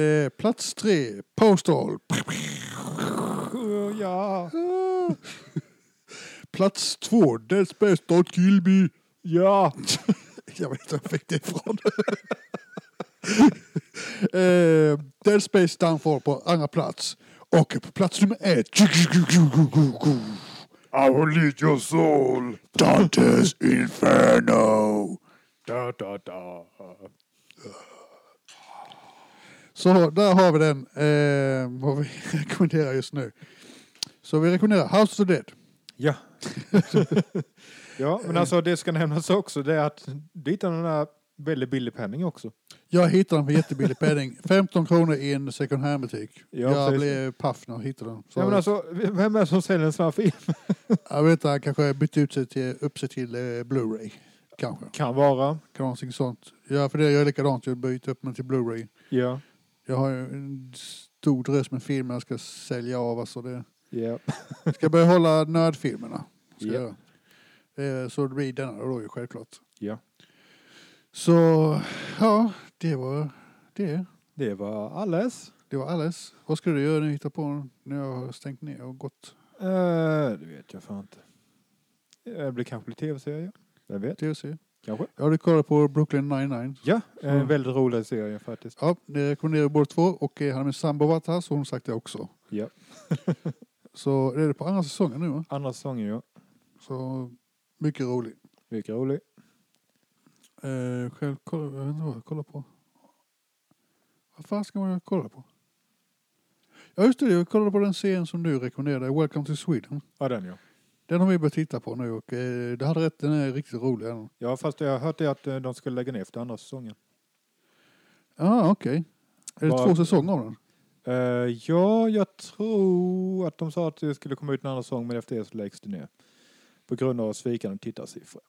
A: Eh, plats tre, Postal.
B: Ja.
A: Plats två, Dead Space Don't Kill Me.
B: Ja.
A: Jag vet inte var jag fick det ifrån. eh, Dead Space Downfall på andra plats. Och på plats nummer ett.
B: I will eat your soul.
A: Dantes Inferno.
B: Da, da, da.
A: Så där har vi den. Eh, vad vi rekommenderar just nu. Så vi rekommenderar House of the Dead.
B: Ja. ja, men alltså det ska nämnas också det är att du hittar den där väldigt billig penning också.
A: Jag hittade den för jättebillig penning. 15 kronor i en second hand-butik.
B: Ja,
A: jag
B: precis.
A: blev paff när jag hittade den. Så,
B: Ja, men alltså, vem är det som säljer en sån här film?
A: Jag vet inte, han kanske bytte ut sig till, upp sig till eh, Blu-ray. Kanske.
B: Kan vara.
A: Kan vara någonting sånt. Ja, för det gör jag likadant. Jag byter upp mig till Blu-ray.
B: Ja.
A: Jag har ju en stor drös med filmer jag ska sälja av. Alltså det.
B: Ja.
A: Jag ska börja hålla nördfilmerna. Ska
B: Ja.
A: jag göra. Eh, Så det blir denna då ju självklart.
B: Ja.
A: Så ja, det var det.
B: Det var alles.
A: Det var alles. Vad ska du göra när du hittar på när jag har stängt ner och gått
B: Eh, det vet jag fan inte. Det blir kanske lite tv-serie. Vem vet?
A: tv-serie?
B: Kanske.
A: Ja, du kollar på Brooklyn 99.
B: Ja, en
A: Mm.
B: väldigt rolig serie faktiskt.
A: Ja, det rekommenderar vi båda två och eh, hade min sambo varit här så har hon sagt det också.
B: Ja.
A: Så det är det på andra säsongen nu va?
B: Andra säsongen ja.
A: Så mycket roligt.
B: Mycket rolig.
A: Eh, själv kolla, jag vet inte vad jag kollar på. Vad fan ska man kolla på? Ja just det, jag kollade på den serien som du rekommenderade, Welcome to Sweden.
B: Ja, den ja.
A: Den har vi börjat titta på nu och eh, du hade rätt, den är riktigt rolig. den.
B: Ja, fast jag har hört det att eh, de skulle lägga ner efter andra säsongen.
A: Ja, ah, okej. Är det
B: Vad-
A: två säsonger av den?
B: Eh, ja, jag tror att de sa att det skulle komma ut en annan säsong, men efter det så läggs det ner. På grund av svikande tittarsiffror.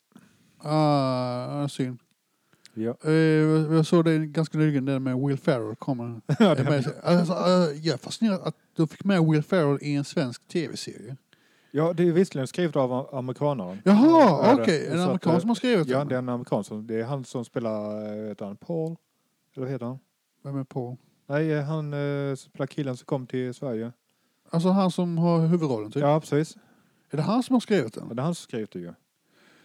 A: Ah, synd.
B: Ja.
A: Eh, jag- jag såg det ganska nyligen, den med Will Ferrell kommer.
B: ja,
A: Jag
B: det,
A: menar, alltså, eh, jag är fascinerad att de fick med Will Ferrell i en svensk tv-serie.
B: ja, det är visserligen skrivet av am- amerikanaren.
A: Jaha,
B: Är det.
A: okej. En
B: Så att, eh,
A: amerikan som har skrivit
B: Ja,
A: den?
B: det är en amerikan. Som, det är han som spelar, eh, heter han Paul? Eller vad heter han?
A: Vem är på?
B: Nej, eh, han eh, spelar killen som kom till Sverige.
A: Alltså han som har huvudrollen typ?
B: Ja, precis.
A: Är det han som har skrivit
B: Ja,
A: den?
B: Det är han som skrev det ju.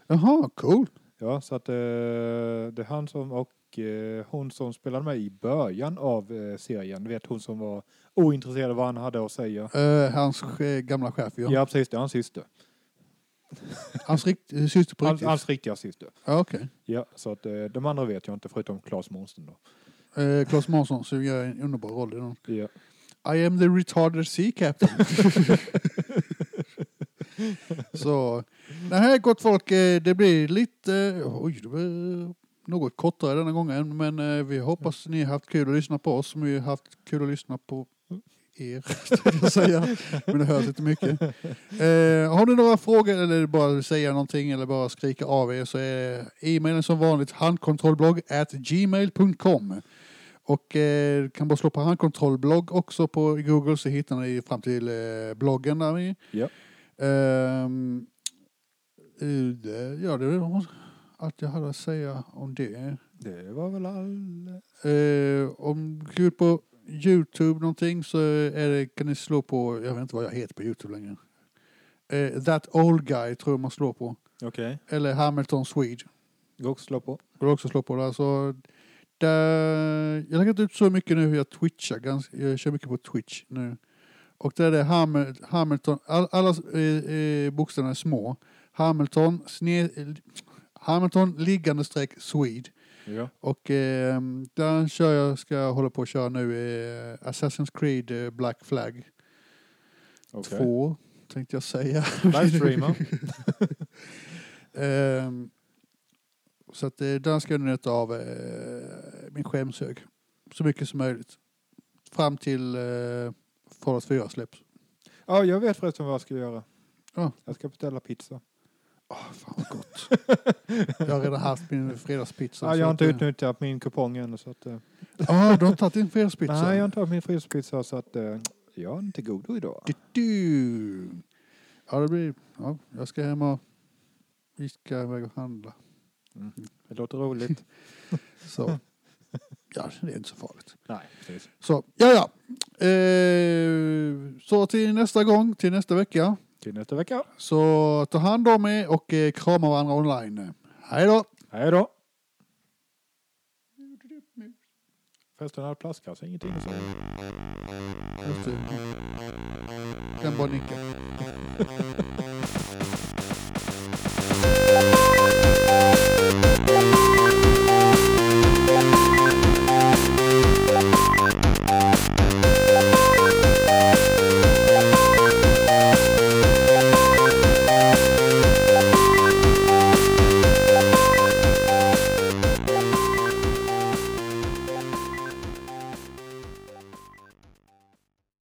A: Jaha, cool.
B: Ja, så att eh, det är han som och eh, hon som spelade med i början av eh, serien. Du vet hon som var ointresserad av vad han hade att säga.
A: Eh, hans eh, gamla chef ja.
B: Mm. Ja, precis. Det är hans syster.
A: Hans rikt- eh, syster på
B: Hans,
A: riktigt?
B: hans riktiga syster.
A: Ja, okej.
B: Ja, så att eh, de andra vet jag inte förutom Claes Månsson då.
A: Eh, Claes Månsson som gör en underbar roll i den.
B: Ja.
A: I am the retarded sea captain. Så, nej gott folk, eh, det blir lite, eh, oj, det blir något kortare denna gången, men eh, vi hoppas ni har haft kul att lyssna på oss, som vi har haft kul att lyssna på er, tänkte jag säga. men det hörs inte mycket. Eh, har ni några frågor eller bara säga någonting eller bara skrika av er så är e-mailen som vanligt handkontrollblogg at gmail.com. Och eh, du kan bara slå på handkontrollblogg också på Google så hittar ni fram till eh, bloggen där vi.
B: Ja.
A: Ehm, eh, det- ja, det var allt jag hade att säga om det.
B: Det var väl all...
A: Eh, om du går ut på Youtube någonting så är det, kan ni slå på, jag vet inte vad jag heter på Youtube längre. Eh, That Old Guy tror jag man slår på.
B: Okej.
A: Eller Hamilton Swede.
B: Gå och slå på.
A: Går också slå på det. Alltså, där, jag har lagt ut så mycket nu hur jag twitchar. Ganska, jag kör mycket på Twitch nu. Och där är det Hamil, Hamilton, all, alla eh, eh, bokstäverna är små. Hamilton, sne, Hamilton liggande streck Swede.
B: Ja.
A: Och eh, där kör jag, ska jag hålla på att köra nu eh, Assassin's Creed eh, Black Flag.
B: Okej.
A: två år, tänkte jag säga.
B: Livestreama.
A: Ehm, så att eh, den ska jag nöta av eh, min skämshög. Så mycket som möjligt. Fram till eh, Fallout 4 släpps.
B: Ja, jag vet förresten vad jag ska göra.
A: Ja.
B: Jag ska beställa pizza.
A: Åh, fan vad gott. jag har redan haft min fredagspizza.
B: Ja,
A: så
B: jag har
A: att,
B: inte
A: eh,
B: utnyttjat min kupong än. Så att, eh,
A: Ja, du har tagit din fredagspizza?
B: nej, jag har inte haft min fryspizza så att eh, jag är inte godo idag.
A: Du, du. Ja, det blir... Ja, jag ska hem och... Vi ska iväg och handla.
B: Det låter roligt.
A: Så... Ja, det är inte så farligt.
B: nej, precis.
A: Så, ja, ja. Eh, så till nästa gång, till nästa vecka.
B: Till nästa vecka.
A: Så ta hand om er och eh, krama varandra online. Hej då!
B: Hej då! Förresten hade plastkasse ingenting att säga.
A: Just det. Kan bara nicka.